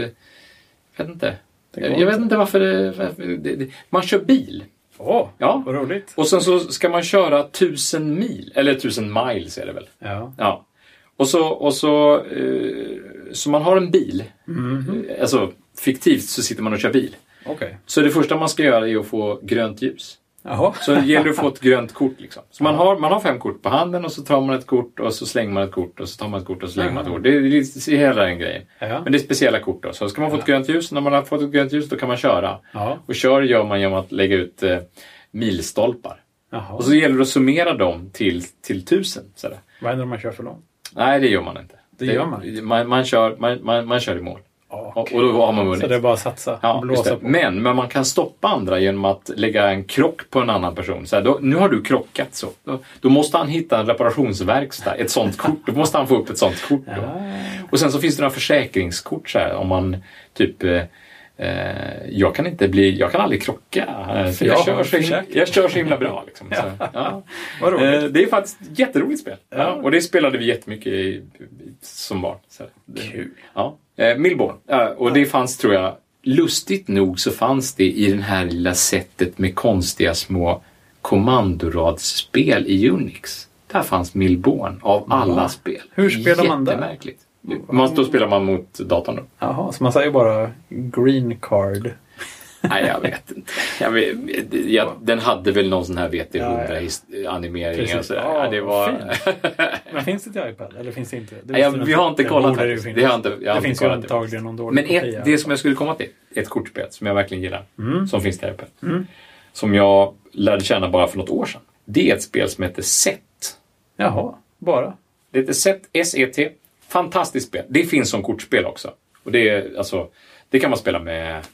B: jag vet inte.
A: går
B: Jag, jag vet inte varför, det, varför det, det... Man kör bil.
A: Åh,
B: Ja.
A: vad roligt.
B: Och sen så ska man köra tusen mil. Eller tusen miles är det väl.
A: Ja.
B: Ja. Och så, och så, eh, så man har en bil. Alltså fiktivt så sitter man och kör bil.
A: Okej.
B: Så det första man ska göra är att få grönt ljus.
A: Jaha.
B: Så det gäller att få ett grönt kort. Liksom. Så man har, man har fem kort på handen och så tar man ett kort och så slänger man ett kort och så tar man ett kort och så slänger man ett kort. Det är, det är hela den grejen.
A: Ja.
B: Men det är speciella kort då. Så ska man få ett grönt ljus, när man har fått ett grönt ljus då kan man köra.
A: Ja.
B: Och kör gör man genom att lägga ut eh, milstolpar.
A: Jaha.
B: Och så gäller det att summera dem till, till tusen. Sådär.
A: Vad händer om man kör för långt?
B: Nej, det gör man inte.
A: Det gör man.
B: Man, man, kör, man, man, man kör i mål. Och, och då har man vunnit.
A: Så det är bara att satsa.
B: Ja, just
A: blåsa
B: det.
A: på.
B: Men, men man kan stoppa andra genom att lägga en krock på en annan person. Så här, då, nu har du krockat så. Då, då måste han hitta en reparationsverkstad, ett sånt kort. Då måste han få upp ett sånt kort. Då. Och sen så finns det några försäkringskort så här, om man typ eh, eh, jag kan inte bli, jag kan aldrig krocka. eh, För
A: Jag
B: jag,
A: har
B: kör så himla,
A: försökt.
B: jag kör så himla bra. Liksom, så, ja.
A: Vad roligt.
B: Eh, Det är faktiskt ett jätteroligt spel. Ja.
A: Ja.
B: och det spelade vi jättemycket i, i, som barn. Så här. Det-
A: Kul.
B: Ja. Eh, Millborn. Eh, och det fanns, tror jag, lustigt nog så fanns det i den här lilla sättet med konstiga små kommandoradspel i Unix. Där fanns Millborn av alla spel.
A: Hur spelar man där?
B: Jättemärkligt. Man, då spelar man mot datorn då.
A: Jaha, så man säger bara green card.
B: Nej, jag vet inte. Jag vet, jag, den hade väl någon sån här
A: Ja, ja.
B: VT100-animering och
A: Precis.
B: sådär.
A: Ja,
B: Ja, det var...
A: Men finns det till iPad? Eller finns det inte? Det
B: Nej, jag,
A: visste du
B: vi har inte kollat
A: borde
B: faktiskt.
A: ju
B: Det, har jag
A: finnas.
B: inte, jag har
A: det
B: inte
A: finns ju
B: kollat
A: antagligen någon dålig
B: Men
A: kopia.
B: ett, det som jag skulle komma till, ett kortspel som jag verkligen gillar, som finns där uppe. Som jag lärde känna bara för något år sedan. Det är ett spel som heter Set.
A: Jaha, bara?
B: Det heter Set, S-E-T. Fantastiskt spel. Det finns som kortspel också. Och det, är, alltså, det kan man spela med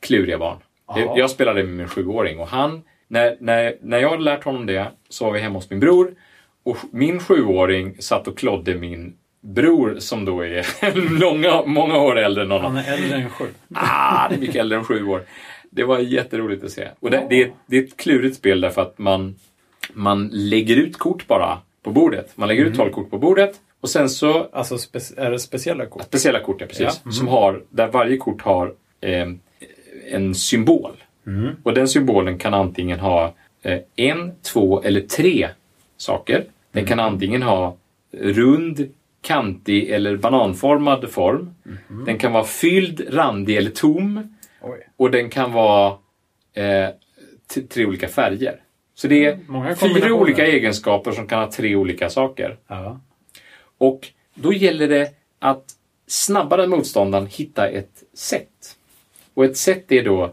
B: kluriga barn.
A: Ja.
B: Jag, jag spelade med min sjuåring och han, när, när, när jag hade lärt honom det så var vi hemma hos min bror och min sjuåring satt och klodde min bror som då är långa, många år äldre än honom.
A: Han är äldre än sju.
B: Ah, det är mycket äldre än sju år. Det var jätteroligt att se. Och det, det, är, ett- det är ett klurigt spel därför att man, man lägger ut kort bara på bordet. Man lägger ut 12 kort på bordet och sen så
A: Alltså, spe- är det speciella kort?
B: speciella kort, ja, precis. Som har, där varje kort har eh, en symbol. Och den symbolen kan antingen ha eh, en, två eller tre saker. Den kan antingen ha rund, kantig eller bananformad form. Den kan vara fylld, randig eller tom.
A: Oj.
B: Och den kan vara eh, t- tre olika färger. Så det är
A: Mm, många
B: fyra
A: kombinationer.
B: olika egenskaper som kan ha tre olika saker.
A: Ja.
B: Och då gäller det att snabbare än motståndaren hitta ett sätt. Och ett sätt är då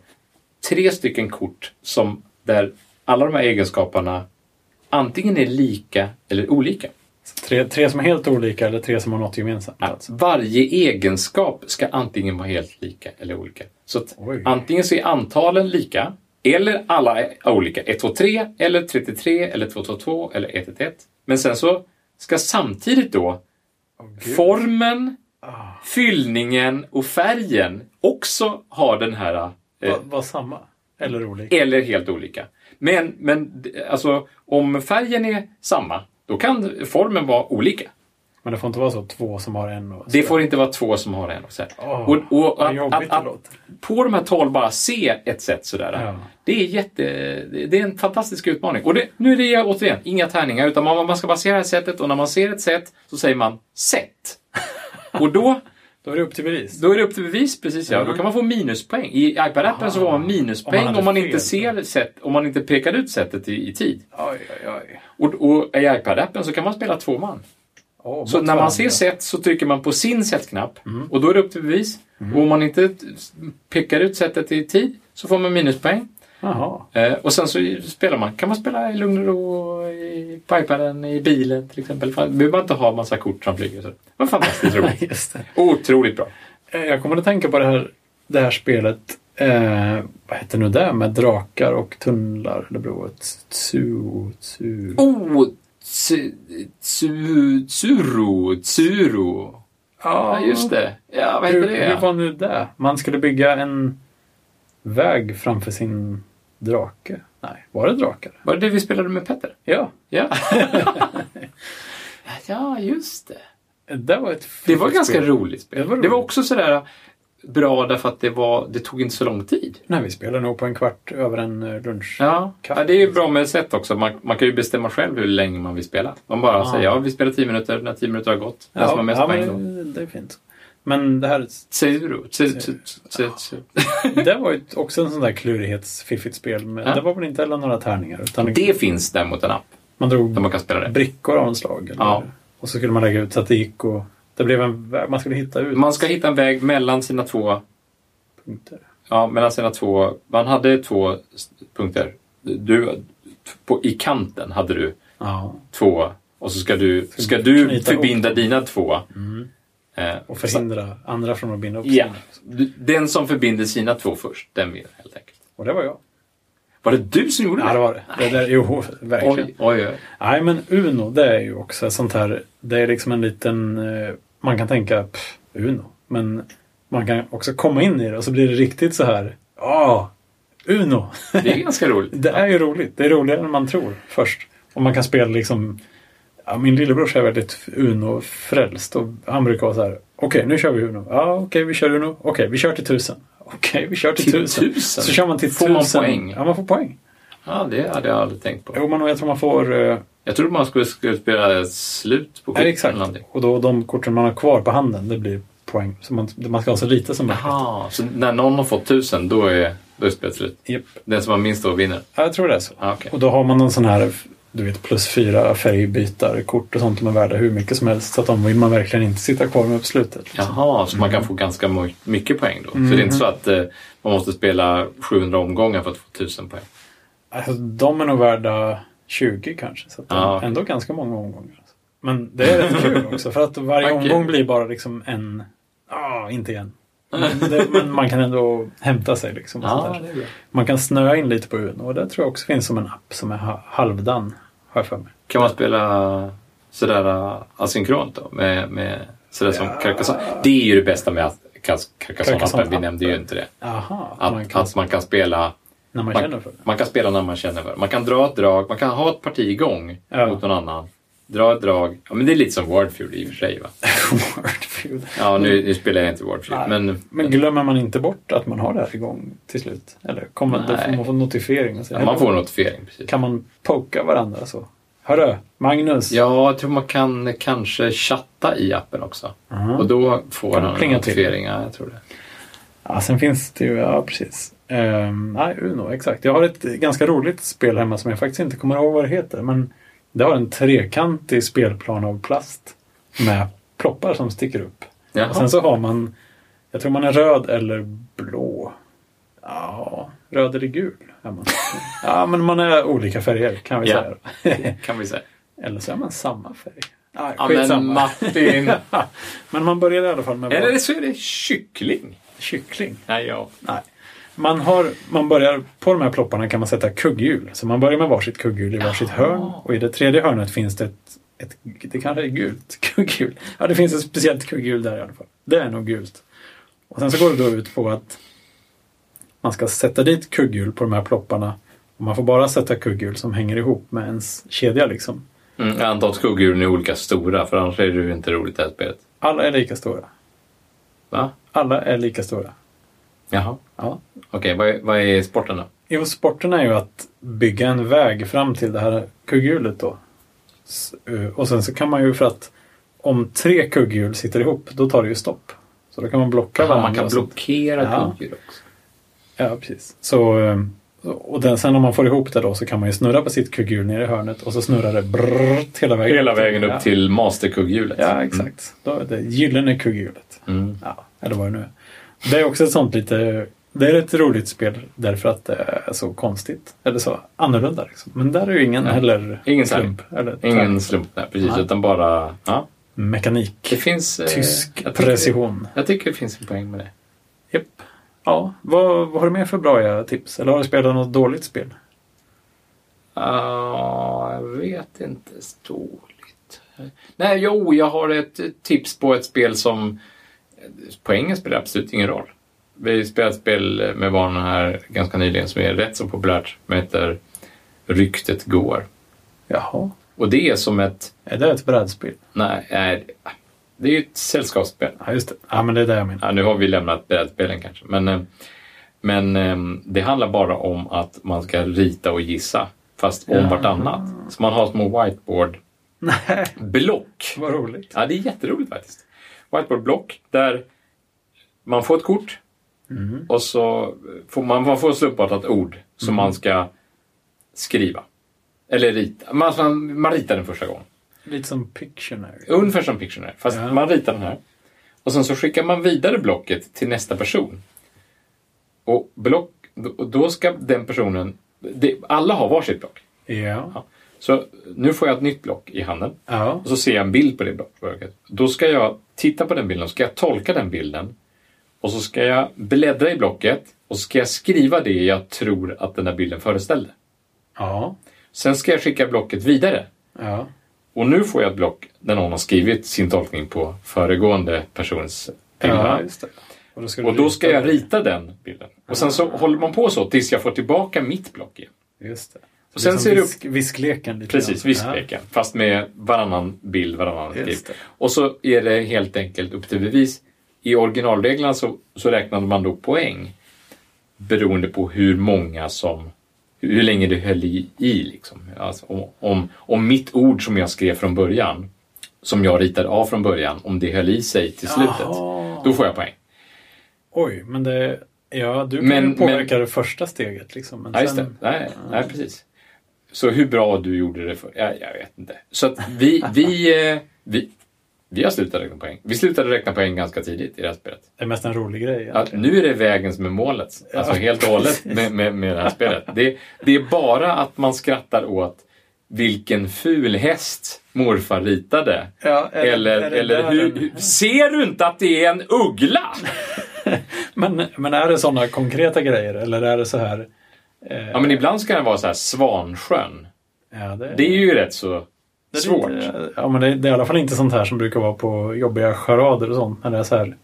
B: tre stycken kort som där alla de här egenskaperna antingen är lika eller olika.
A: Tre, tre som är helt olika eller tre som har något gemensamt?
B: Att
A: Alltså.
B: varje egenskap ska antingen vara helt lika eller olika. Så att
A: Oj.
B: antingen så är antalen lika, eller alla är olika. 1, 2, 3, eller 33, eller 2, 2, 2, eller 1, 1, 1. Men sen så ska samtidigt då
A: gud.
B: formen,
A: Ah.
B: fyllningen och färgen också ha den här... eh,
A: Var, var samma? Eller olika?
B: eller helt olika. Men, men d- alltså, om färgen är samma, då kan formen vara olika.
A: Men det får inte vara så två som har en? Och
B: Det får inte vara två som har en. Och så här.
A: Åh,
B: och, och,
A: vad
B: att,
A: jobbigt
B: att,
A: det
B: att,
A: låter.
B: på de här tolv bara se ett sätt sådär.
A: Ja.
B: Det, är jätte, det är en fantastisk utmaning. Och det, nu är det återigen inga tärningar, utan man, man ska bara se det här sättet och när man ser ett sätt så säger man set. och då,
A: Då är det upp till bevis.
B: då är det upp till bevis, precis ja. Då kan man få minuspoäng. I iPad-appen så får
A: Om
B: man
A: Ah, man
B: minuspoäng
A: hade
B: om man
A: fel.
B: inte ser sätt, om man inte pekar ut sättet i, i tid.
A: Oj, oj, oj.
B: Och, och i iPad-appen så kan man spela två man.
A: Åh,
B: Så
A: mot
B: när man
A: varandra.
B: ser set så trycker man på sin setknapp och då är det upp till bevis. Och om man inte pekar ut setet i tid så får man minuspoäng.
A: Jaha.
B: Eh, och sen så spelar man. Kan man spela i lugn och ro i på iPaden, i bilen till exempel. Fan, behöver man inte ha massa kort som flyger. Så. Det var fantastiskt roligt.
A: Just det.
B: Otroligt bra.
A: Eh, Jag kommer att tänka på det här, det här spelet. Eh, vad heter nu det med drakar och tunnlar? Det beror Tsu... Tsu...
B: Oh! tsu- tsu- Tsuro, tsuro. Ja, just det. Ja, vad heter
A: Ah, Hur, hur
B: det?
A: var nu det? Man skulle bygga en väg framför sin drake. Nej, var det drakar?
B: Var det det vi spelade med Petter?
A: Ja,
B: Ja. ja, just det.
A: det var ett
B: Det var ganska
A: spel.
B: roligt spel.
A: Det var roligt.
B: Det var också sådär bra därför att det, var, det tog inte så lång tid.
A: Nej, vi spelade nog på en kvart över en eh, lunch.
B: Ja,
A: Kaffe.
B: ja det är ju bra med set också. Man, man kan ju bestämma själv hur länge man vill spela. Man bara säger ja, vi spelar 10 minuter när 10 minuter har gått. Den som har mest
A: ja,
B: poäng då.
A: men eh, det är fint. Men det här,
B: Säger du? Säg- säg- säg- säg.
A: det var ju också en sån där klurighetsfiffigt spel. Men
B: Ja.
A: Det var väl inte heller några tärningar. Utan
B: Det finns däremot en app
A: man
B: där
A: drog
B: man kan spela det.
A: brickor av en slag. Eller?
B: Ja.
A: Och så skulle man lägga ut så att det gick och det blev en väg. Man skulle hitta ut
B: Man ska hitta en väg mellan sina två...
A: punkter.
B: Ja, mellan sina två... Man hade två s- punkter. Du, på, I kanten hade du
A: Ja.
B: två och så ska du, ska du
A: Knyta ihop
B: förbinda dina två. Eh,
A: Och förhindra andra från att binda upp
B: Ja.
A: sina.
B: Den som förbinder sina två först, den vinner helt enkelt.
A: Och det var jag.
B: Var det du som gjorde
A: Ja, det var det. det där, jo, verkligen.
B: Oj, oj, oj.
A: Nej, men Uno, det är ju också ett sånt här... Det är liksom en liten... eh, Man kan tänka, pff, Uno. Men man kan också komma in i det och så blir det riktigt så här, ja, Uno!
B: Det är ganska roligt.
A: Det är ju roligt. Det är roligare än man tror först. Och man kan spela liksom... Ja, min lillebror är väldigt Uno-frälst och han brukar vara så här. Okej, nu kör vi Uno. Ja, okej, vi kör Uno. Okej, vi kör till tusen. Okej, vi kör till,
B: Till
A: tusen.
B: tusen?
A: Så kör man till
B: Får man
A: tusen.
B: poäng?
A: Ja, man får poäng.
B: Ja, det hade jag aldrig tänkt på.
A: Jo, men jag tror man får... eh,
B: Jag trodde man skulle, skulle spela slut på
A: Nej,
B: korten
A: exakt.
B: eller någonting.
A: Och då de korten man har kvar på handen, det blir poäng. Så man, man ska ha så lite som möjligt.
B: Jaha, så när någon har fått tusen, då är, då är spelet slut?
A: Japp.
B: Den som har minst då vinner?
A: Ja, jag tror det är så.
B: Ah, okej.
A: Och då har man någon sån här, du vet, plus fyra färgbytarkort och sånt som är värda hur mycket som helst. Så att de vill man verkligen inte sitta kvar med på slutet. liksom.
B: Jaha, så man kan få ganska mo- mycket poäng då? Så det är
A: Mm.
B: inte så att eh, man måste spela 700 omgångar för att få 1000 poäng?
A: Alltså, de är nog värda 20 kanske, så att det är
B: Ja, okej.
A: ändå ganska många omgångar. alltså. Men det är rätt kul också, för att varje
B: Vad
A: omgång
B: kul.
A: blir bara liksom en... Ja, inte en. Men, det, men man kan ändå hämta sig. Liksom, och sånt där.
B: är bra.
A: Man kan snöa in lite på Uno och det tror jag också finns som en app som är ha- halvdan, har jag för mig.
B: Kan man spela sådär eh, asynkront då? Med, med, sådär som Carcassonne? Det är ju det bästa med att- Cas- Carcassonne-appen. Vi
A: Carcassonne-appen.
B: nämnde ju inte det.
A: Aha,
B: Att
A: man kan,
B: att man kan spela
A: när man, känner
B: man,
A: för det.
B: man kan spela när man känner för det. Man kan dra ett drag, man kan ha ett parti igång
A: Ja.
B: mot någon annan. Dra ett drag. Ja, men det är lite som Wordfeud i och för sig. Va?
A: Wordfeud.
B: Ja, nu, nu spelar jag inte Wordfeud,
A: Nej.
B: men,
A: Men glömmer man inte bort att man har det här igång till slut? Eller kommer då får
B: Nej.
A: man få notifiering? Och säga,
B: ja, man får en notifiering. Precis.
A: Kan man poka varandra så? Hörru, Magnus!
B: Ja, jag tror man kan kanske chatta i appen också.
A: Mhm.
B: Och då får
A: Kan
B: han en
A: plinga till.
B: notifiering. Ja, jag tror det.
A: Ja, sen finns det ju, ja precis. Ehm, nej, Uno, exakt. Jag har ett ganska roligt spel hemma som jag faktiskt inte kommer ihåg vad det heter. Men det har en trekantig spelplan av plast med ploppar som sticker upp.
B: Jaha.
A: Och sen så har man, jag tror man är röd eller blå. Ja, röd eller gul är man. Ja, men man är olika färger kan vi
B: Ja.
A: säga.
B: kan vi säga.
A: eller så är man samma färg. Nej,
B: Ja, men
A: skitsamma.
B: Martin.
A: men man börjar i alla fall med
B: Eller så är det kyckling.
A: kyckling.
B: Nej, ja.
A: Nej. Man, har, man börjar, på de här plopparna kan man sätta kugghjul. Så man börjar med varsitt kugghjul i varsitt hörn. Och i det tredje hörnet finns det ett, ett det kanske är gult kugghjul. Ja, det finns ett speciellt kugghjul där i alla fall. Det är nog gult. Och sen så går det då ut på att man ska sätta dit kugghjul på de här plopparna. Och man får bara sätta kugghjul som hänger ihop med ens kedja liksom.
B: Mm, jag antar att skuggdjuren är olika stora, för annars är det ju inte roligt det här spelet.
A: Alla är lika stora.
B: Va?
A: Alla är lika stora.
B: Jaha.
A: Ja.
B: Okej, vad, är- vad är sporten då?
A: Jo, sporten är ju att bygga en väg fram till det här kugghjulet då. S- eh, Och sen så kan man ju för att om tre kugghjul sitter ihop, då tar det ju stopp. Så då kan man blocka
B: Jaha,
A: varandra.
B: man kan
A: och sånt.
B: blockera
A: Ja.
B: kugghjul också.
A: Ja, precis. Så, eh, och den, sen om man får ihop det då så kan man ju snurra på sitt kugghjul nere i hörnet och så snurrar det brrrt hela vägen.
B: Hela vägen
A: ja.
B: upp till Mm. masterkugghjulet.
A: Ja, exakt. Då är det gyllene kugghjulet.
B: Mm.
A: Ja, eller vad det nu är. Det är också ett sånt lite... Det är ett roligt spel därför att det är så konstigt. Eller så annorlunda. Liksom. Men där är ju ingen
B: Ja.
A: heller
B: Ingen
A: slump. Eller
B: mm. Ingen slump där, precis.
A: Nej.
B: Utan bara... Ja.
A: Mekanik.
B: Det finns... eh,
A: Tysk
B: jag tycker-
A: precision.
B: Jag tycker det finns en poäng med det.
A: Japp. Ja, vad, vad har du mer för bra eh, tips? Eller har du spelat något dåligt spel?
B: Ah, jag vet inte. Dåligt. Nej, jo, jag har ett tips på ett spel som... Poängen spelar absolut ingen roll. Vi spelade ett spel med barnen här ganska nyligen som är rätt så populärt. Som heter Ryktet går.
A: Jaha.
B: Och det är som ett...
A: Är det ett brädspel?
B: Nej, nej det är ju ett sällskapsspel.
A: Ja, just det. Ja, men det är det jag menar.
B: Ja, nu har vi lämnat brädspelen kanske, men, eh, men eh, det handlar bara om att man ska rita och gissa, fast om vartannat. Så man har små whiteboard-block.
A: Nej, vad roligt.
B: Ja, det är jätteroligt faktiskt. Whiteboard-block där man får ett kort och så får man, man får slumpartat ord som man ska skriva. Eller rita. Man, man, man ritar den första gången.
A: Lite som Pictionary.
B: Ungefär som Pictionary, fast
A: Ja.
B: man ritar den här. Och sen så skickar man vidare blocket till nästa person. Och, block, och då ska den personen... Det, alla har varsitt block.
A: Ja.
B: Så nu får jag ett nytt block i handen.
A: Ja.
B: Och så ser jag en bild på det blocket. Då ska jag titta på den bilden och ska jag tolka den bilden. Och så ska jag bläddra i blocket och så ska jag skriva det jag tror att den här bilden föreställde.
A: Ja.
B: Sen ska jag skicka blocket vidare.
A: Ja.
B: Och nu får jag ett block där någon har skrivit sin tolkning på föregående persons
A: Ja,
B: bilder.
A: just det. Och då ska,
B: Och
A: du
B: då ska
A: rita
B: jag rita den bilden. Och sen så håller man på så tills jag får tillbaka mitt block igen.
A: det. Just det.
B: Och sen
A: det är som
B: ser du-
A: visk, viskleken. Lite
B: Precis,
A: grann.
B: viskleken. Fast med varannan bild, varannan
A: Just
B: skrift.
A: det.
B: Och så är det helt enkelt upp till bevis. I originalreglerna så, så räknade man då poäng beroende på hur många som... Hur länge det höll i, i liksom. Alltså, om, om, om mitt ord som jag skrev från början, som jag ritade av från början, om det höll i sig till slutet,
A: Jaha.
B: då får jag poäng.
A: Ja. Oj, men det... Ja, du kan
B: Men-
A: ju påverka
B: men-
A: det första steget liksom. Men
B: Ja, just det.
A: sen,
B: Nej, nej, precis. Så hur bra du gjorde det för... Jag, jag vet inte. Så att vi, vi, eh, vi, vi har slutat räkna poäng. Vi slutade räkna poäng ganska tidigt i det här spelet.
A: det är mest en rolig grej.
B: Att nu är det vägen som är målet. Alltså helt och hållet med, med, med det här spelet. Det, det är bara att man skrattar åt vilken ful häst morfar ritade.
A: Ja, eller-
B: eller
A: eller
B: eller
A: där
B: hur,
A: den-
B: hur, ser du inte att det är en uggla?
A: Men, men är det sådana konkreta grejer eller är det så här... Eh,
B: Ja, men ibland ska det vara så här Svansjön.
A: ja, det,
B: Det är ju rätt så
A: det är
B: svårt.
A: Inte, ja, men det, det är i alla fall inte sånt här som brukar vara på jobbiga charader och sånt. När det är så här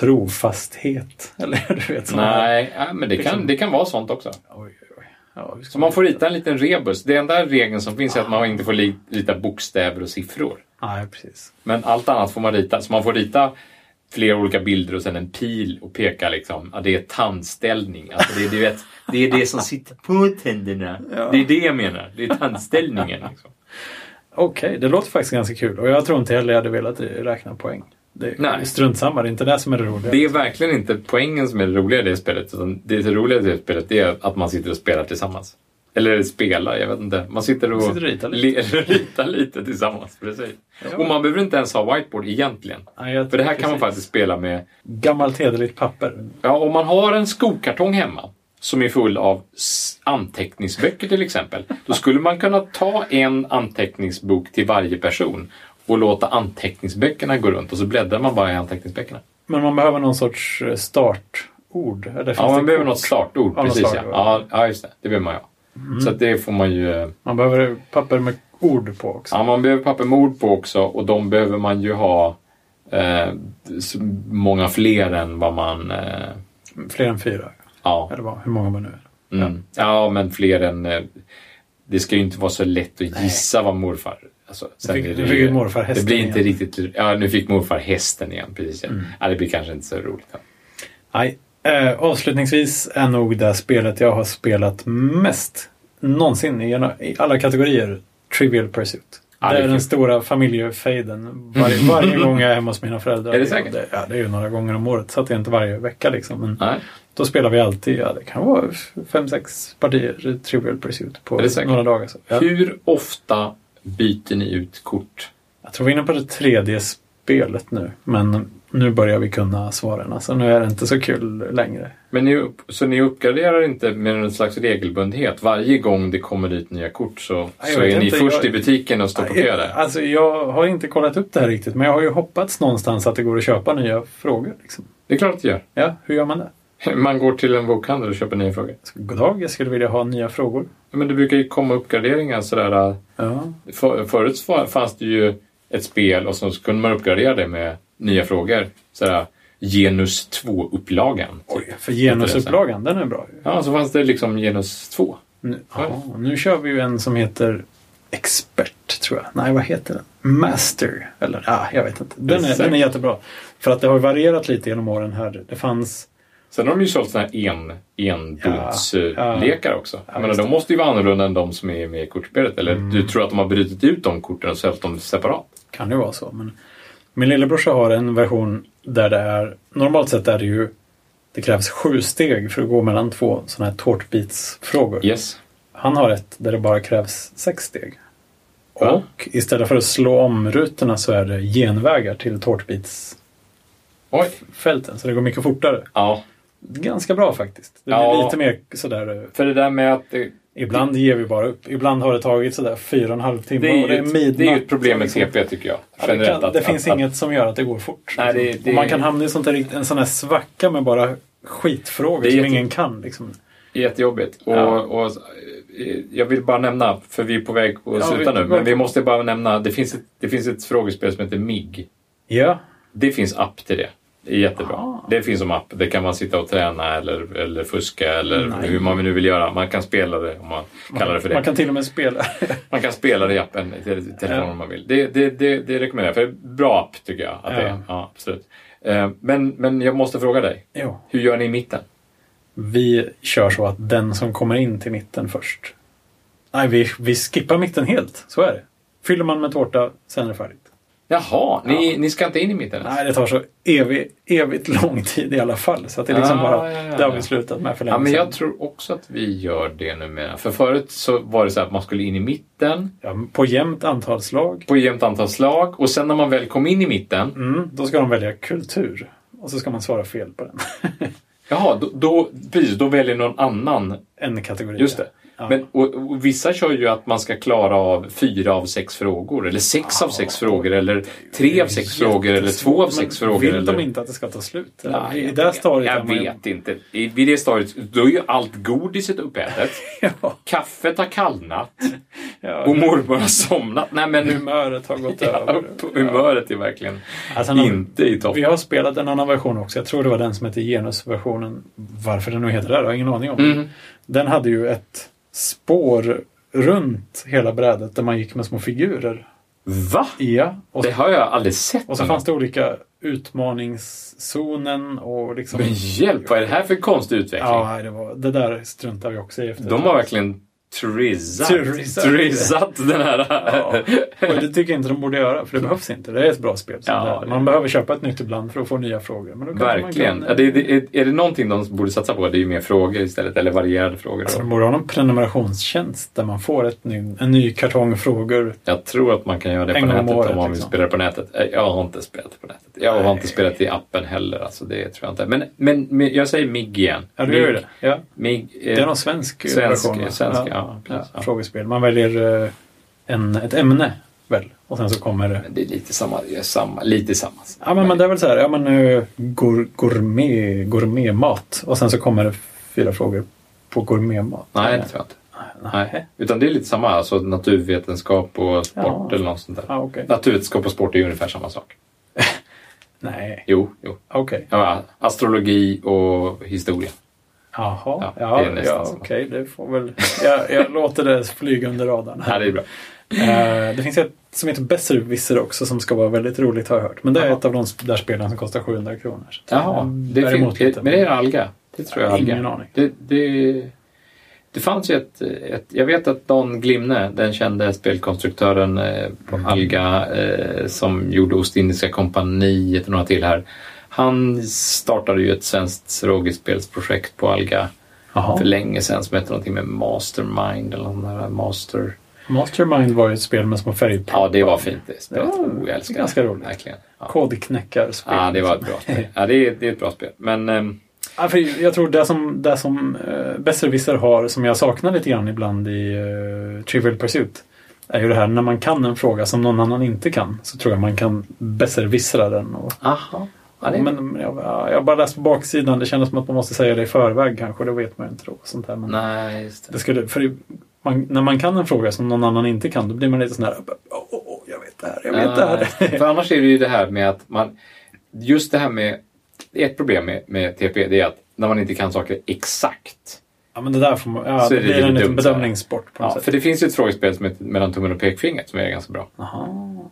A: trofasthet. Eller du vet sådana här-
B: Nej, ja, men det kan,
A: Liksom-
B: det kan vara sånt också.
A: Oj, oj, oj. Ja, vi ska-
B: Så man får rita en liten rebus. Det enda regeln som finns är att man inte får li- rita bokstäver och siffror.
A: Nej, precis.
B: Men allt annat får man rita. Så man får rita flera olika bilder och sen en pil och peka liksom. Ja, det är tandställning. Alltså det, är, du vet, det är det som sitter på tänderna. Det är det jag menar. Det är tandställningen. Liksom.
A: Okej, det låter faktiskt ganska kul. Och jag tror inte heller jag hade velat räkna poäng. Det,
B: Nej.
A: Strunt samma, det är inte det som är det roliga.
B: Det är verkligen inte poängen som är det roliga i det spelet. Utan det roliga i det spelet det är att man sitter och spelar tillsammans. Eller spelar, jag vet inte. Man sitter och,
A: Sitter och ritar
B: lite. ritar lite tillsammans. Precis.
A: Ja.
B: Och man behöver inte ens ha whiteboard egentligen.
A: Nej, jag
B: För det här
A: tror
B: kan man
A: precis.
B: faktiskt spela med...
A: Gammalt hederligt papper.
B: Ja, om man har en skokartong hemma som är full av s- anteckningsböcker till exempel. Då skulle man kunna ta en anteckningsbok till varje person och låta anteckningsböckerna gå runt och så bläddrar man bara i anteckningsböckerna.
A: Men man behöver någon sorts eh, startord. Eller finns
B: Ja,
A: det
B: man behöver
A: kort?
B: något startord.
A: Ja, Mm. något
B: precis, ja.
A: slagord.
B: ja. Ja, just det. Det behöver man ju ha. Så att det får man ju... eh,
A: Man behöver papper med ord på också.
B: Ja, man behöver papper med ord på också och de behöver man ju ha eh, så många fler än vad man... Eh,
A: Fler än fyra.
B: ja.
A: Eller vad, hur många man nu är.
B: Mm. ja, men fler än... Eh, det ska ju inte vara så lätt att gissa vad morfar... Alltså, sen
A: fick-
B: är det
A: nu fick
B: ju-
A: ju morfar
B: Det
A: hästen
B: blir inte
A: igen. Mm.
B: riktigt... Ja, nu fick morfar hästen igen. Precis, ja. ja det blir kanske inte så roligt. Ja.
A: Nej. Eh, avslutningsvis är nog det spelet jag har spelat mest någonsin i, gena- i alla kategorier Trivial Pursuit.
B: Ja, det
A: det
B: är
A: är den
B: kul.
A: stora familjefejden. Varje, varje gång jag är hemma hos mina föräldrar.
B: Är det säkert?
A: Det, ja, det är ju några gånger om året, så att det är inte varje vecka. Liksom. Men
B: Nej.
A: Då spelar vi alltid, ja, det kan vara f- fem, sex partier Trivial Pursuit på
B: Är det säkert?
A: några dagar. Så. Ja.
B: Hur ofta byter ni ut kort?
A: Jag tror vi är inne på det tredje spelet nu, men nu börjar vi kunna svaren. Alltså, nu är det inte så kul längre.
B: Men ni, upp- så ni uppgraderar inte med någon slags regelbundhet? Varje gång det kommer dit nya kort så,
A: Nej, jag
B: så
A: vet
B: är ni
A: inte,
B: först
A: jag-
B: i butiken och står på kö där?
A: Alltså, jag har inte kollat upp det här riktigt, men jag har ju hoppats någonstans att det går att köpa nya frågor. Liksom.
B: Det är klart att det gör.
A: Ja, hur gör man det?
B: Man går till en bokhandel och köper nya frågor.
A: Så, God dag, jag skulle vilja ha nya frågor.
B: Men det brukar ju komma uppgraderingar sådär. äh,
A: Ja,
B: För, förut så fa- fanns det ju ett spel och så kunde man uppgradera det med nya frågor. Sådär, genus 2-upplagan.
A: Oj, för genusupplagan, den är bra. ju.
B: Ja, så fanns det liksom genus 2.
A: Nu, ja, nu kör vi ju en som heter Expert, tror jag. Nej, vad heter den? Master, eller ah, jag vet inte. Den är,
B: Exakt.
A: den är jättebra. För att det har ju varierat lite genom åren här. Det fanns
B: Sen har de ju sålt såna här en,
A: Ja, ja.
B: enbudslekar också.
A: Ja, Mm.
B: Jag menar,
A: just
B: de måste ju vara annorlunda än de som är med i kortspelet. Eller du tror att de har brutit ut de korten och sålt dem separat?
A: kan ju vara så. Men min lillebrorsa har en version där det är, normalt sett är det ju, det krävs sju steg för att gå mellan två sådana här tårtbitsfrågor.
B: Yes.
A: Han har ett där det bara krävs sex steg.
B: Ja.
A: Och istället för att slå om rutorna så är det genvägar till tårtbitsfälten.
B: Oj.
A: Så det går mycket fortare.
B: Ja.
A: Ganska bra faktiskt. Det blir
B: Ja.
A: lite mer sådär... eh,
B: För det där med att... eh,
A: Ibland ger vi bara upp. Ibland har det tagit sådär fyra och en halv timme
B: Det är,
A: och det är
B: ju ett,
A: midnatt.
B: det är ju ett problem med
A: Liksom.
B: TP tycker jag.
A: Ja, det kan,
B: att-
A: det finns
B: att,
A: inget som gör att det går fort.
B: Nej, det-
A: liksom.
B: det-
A: och man kan hamna i sånt där, rikt- en sån här svacka med bara skitfrågor
B: Det är
A: som
B: jätte-
A: ingen kan. Liksom.
B: Det är jättejobbigt. Och,
A: Ja.
B: och, eh, jag vill bara nämna, för vi är på väg att sluta
A: vi-
B: nu, men vi måste bara nämna, det finns, ett, det finns ett frågespel som heter MIG.
A: Ja,
B: Det finns app till det. Det är jättebra.
A: Ah.
B: Det finns som app. Det kan man sitta och träna eller, eller fuska eller
A: Nej.
B: hur man nu vill göra. Man kan spela det om man kallar det för det.
A: Man kan till och med spela.
B: Man kan spela det i appen i tele- telefonen om man vill. Det, det, det, det rekommenderar jag, för det är en bra app tycker jag. Att det
A: Ja.
B: är. Ja, absolut. Eh, Men, men jag måste fråga dig,
A: jo.
B: hur gör ni i mitten?
A: Vi kör så att den som kommer in till mitten först. Nej, vi, vi skippar mitten helt. Så är det. Fyller man med tårta, sen är det färdigt.
B: Jaha, ni, ni ska inte in i mitten? ens?
A: Nej, det tar så evig, evigt lång tid i alla fall. Så att det är liksom
B: Ah,
A: bara,
B: ja, ja,
A: det har
B: ja.
A: vi slutat med för länge
B: Ja, men jag
A: sedan.
B: tror också att vi gör det numera. För förut så var det så att man skulle in i mitten
A: Ja, men på jämnt antal slag,
B: på jämnt antal slag och sen när man väl kom in i mitten,
A: mm, då ska de välja kultur. Och så ska man svara fel på den.
B: jaha, då, då, precis, då väljer någon annan.
A: en kategori.
B: Just det.
A: Ja.
B: Men, och, och vissa kör ju att man ska klara av fyra av sex frågor, eller sex av sex frågor, eller tre av sex frågor, eller två av sex
A: Men
B: frågor.
A: Vill
B: eller...
A: de inte att det ska ta slut? Eller?
B: Nej,
A: I det här stadiet är
B: jag
A: man ju-
B: vet inte. I, vid det stadiet, då är ju allt godiset uppätet.
A: Ja,
B: Kaffet har kallnat
A: ja,
B: och mormor har somnat. Nej, men nu
A: humöret har gått
B: Ja,
A: över.
B: upp- humöret är verkligen
A: Alltså, han-
B: inte i topp.
A: Vi har spelat en annan version också. Jag tror det var den som hette genusversionen. Varför den nu heter det har jag ingen aning om.
B: Mm.
A: Den hade ju ett spår runt hela brädet där man gick med små figurer.
B: Va?
A: Ja, och,
B: Det har jag aldrig sett.
A: och så fanns det olika utmaningszonen och liksom...
B: Men hjälp, vad är det här för konstig utveckling?
A: Ja, nej, det, var, det där struntar vi också i efter
B: De har verkligen trisat,
A: Trisat.
B: trisat den här... Ja. Mm.
A: Och det tycker jag inte de borde göra, för det behövs inte. Det är ett bra spel. som
B: Ja,
A: det är.
B: det-
A: man behöver köpa ett nytt ibland för att få nya frågor. Men då kanske
B: Verkligen.
A: Man kan,
B: Ja, det, det, är- är det någonting de borde satsa på? Det är ju mer frågor istället, eller varierade frågor.
A: Alltså, de borde ha någon prenumerationstjänst där man får ett ny, en ny kartong frågor.
B: Jag tror att man kan göra det
A: En
B: på
A: gång om
B: nätet
A: året,
B: om man vill
A: liksom.
B: spela det på nätet. Eh, Jag har inte spelat på nätet. Jag har
A: Nej.
B: inte spelat i appen heller, alltså det tror jag inte. Men, men, men jag säger MIG igen.
A: Ja, du
B: MIG,
A: gör ju det. Ja.
B: MIG, eh,
A: Det är någon svensk,
B: svensk-
A: version. va?
B: svensk, ja, precis, ja.
A: Frågespel. Man väljer eh, en, ett ämne, väl? Och sen så kommer det...
B: Men det är lite samma. det är samma lite samma.
A: Ja, men, men det är väl så här, ja men eh, gour, gourmet, gourmetmat. Och sen så kommer det fyra frågor på gourmetmat.
B: Nej, det tror jag inte. Nej. Utan det är lite samma, alltså naturvetenskap och sport
A: Ja.
B: eller något sånt där.
A: Ja, okej.
B: Naturvetenskap och sport är ju ungefär samma sak.
A: Nej,
B: Jo, jo.
A: okej.
B: Ja, astrologi och historia.
A: Jaha,
B: Ja,
A: ja,
B: det är
A: ja,
B: nästan så.
A: okej. Det får väl... Jag, jag låter det flyga under radarn.
B: Ja,
A: Här.
B: det är bra.
A: Eh, det finns ett som heter Besserwisser också som ska vara väldigt roligt har jag hört. Men det är
B: Jaha.
A: ett av de sp- där spelen som kostar 700 kronor. Så
B: Jaha,
A: den
B: det
A: bär emot
B: finns,
A: lite.
B: men det är alga. Det tror jag.
A: Ja, ingen
B: alga.
A: aning.
B: Det, det, det fanns ju ett, ett... Jag vet att Don Glimne, den kände spelkonstruktören eh, på
A: Mm.
B: Alga eh, som gjorde Ostindiska kompaniet och några till här. Han startade ju ett svenskt rågespelsprojekt på Alga
A: Jaha.
B: för länge sedan som hette någonting med Mastermind eller någon där Master...
A: Mastermind var ju ett spel med små färgproppar.
B: Ja, det var fint det spelet.
A: Ja,
B: oh, jag älskar det.
A: ganska roligt.
B: Verkligen. Ja.
A: Kodknäckarspel.
B: ja, det var ett
A: liksom.
B: bra spel. Ja, det, är, det är ett bra spel. Men... ehm,
A: Ja, för jag tror det som, det som eh, Besserwisser har, som jag saknar lite grann ibland i eh, Trivial Pursuit, är ju det här när man kan en fråga som någon annan inte kan, så tror jag man kan besserwissra den. Och,
B: Aha. Ja, det är
A: men men jag, ja, jag har bara läst på baksidan, det kändes som att man måste säga det i förväg kanske, det vet man ju inte då. Sånt här. Men
B: Nej, just
A: det
B: det.
A: skulle, för i- man, när man kan en fråga som någon annan inte kan, då blir man lite sån här, åh, åh, åh, jag vet det här, jag vet det här.
B: Nej, För annars är det ju det här med att man... Just det här med... Ett problem med, med TP det är att när man inte kan saker exakt.
A: ja, men det där får man, ja,
B: Så
A: det
B: är det
A: blir
B: lite
A: en liten
B: dumt så här.
A: bedömningssport på något
B: Ja, för
A: sätt.
B: det finns ju ett frågespel som heter Mellan tummen och pekfingret som är ganska bra.
A: Aha.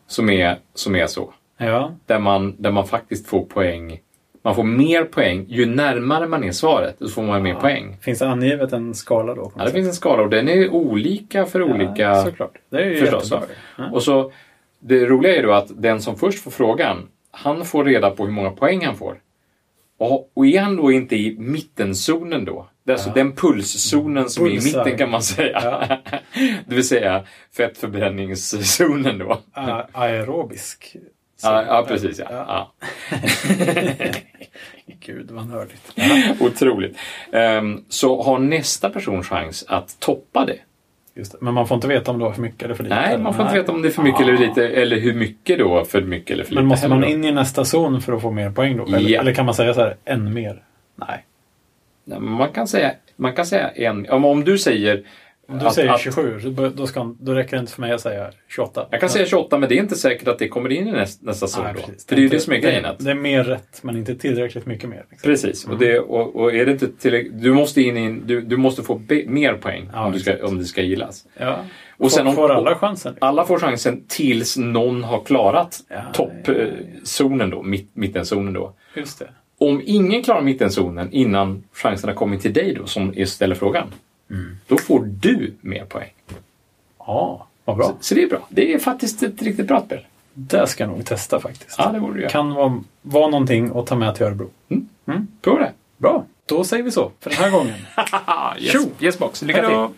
B: Som är, som är så.
A: Ja,
B: Där man, där man faktiskt får poäng. Man får mer poäng. Ju närmare man är svaret, så får man mer poäng.
A: Finns det angivet en skala då? På något
B: Ja, det
A: sätt?
B: finns en skala och den är olika för olika...
A: Ja, såklart. Det är ju
B: Förstås.
A: jättebra. Ja.
B: Och så, det roliga är då att den som först får frågan, han får reda på hur många poäng han får. Och, och är han då inte i mittenzonen då? Det är alltså den pulszonen som är i
A: Pulsar.
B: mitten kan man säga. det vill säga fettförbränningszonen då.
A: A- aerobisk. Så-
B: Ja, ja precis. Ja. Ja.
A: Gud vad nördigt.
B: Otroligt. Ehm, så har nästa person chans att toppa det.
A: Just det. Men man får inte veta om det var för mycket eller för lite?
B: Nej,
A: eller-
B: man får inte veta om det är för mycket eller lite, eller hur mycket då, för mycket eller för lite.
A: Men måste man
B: heller då.
A: in i nästa zon för att få mer poäng då? Eller,
B: Ja.
A: eller kan man säga så här, än mer? Nej.
B: Nej, men Man kan säga, man kan säga en... Om, om du säger
A: Om du
B: Att-
A: säger
B: att-
A: 27, så bör- då, ska, då räcker det inte för mig att säga 28.
B: Jag kan säga 28, men det är inte säkert att det kommer in i näst, nästa säsong
A: Nej,
B: då.
A: precis.
B: För det är ju
A: inte-
B: det som är grejen. Att,
A: Det är mer rätt, men inte tillräckligt mycket mer. Liksom.
B: precis. Och, det, och, och är det inte tillräckligt... Du måste, in i, en- du, du måste få be, mer poäng
A: Ja,
B: om, du ska, om det ska gillas.
A: Ja.
B: Och sen
A: får,
B: om-
A: får alla chansen? liksom?
B: Alla får chansen tills någon har klarat
A: Ja,
B: toppzonen då, mitt, mittenzonen då.
A: Just det.
B: Om ingen klarar mittenzonen innan chanserna kommer till dig då, som är- ställer frågan,
A: Mm.
B: då får du mer poäng.
A: Ja, vad bra.
B: Så, så det är bra. Det är faktiskt ett riktigt bra spel.
A: Det ska jag nog testa faktiskt.
B: Ja, det borde du göra.
A: Kan vara, vara någonting att ta med till Örebro.
B: Prova det.
A: Bra, då säger vi så för den här gången.
B: Haha, yes,
A: Tjo!
B: Ah, yes box. Lycka
A: Hej då.
B: till.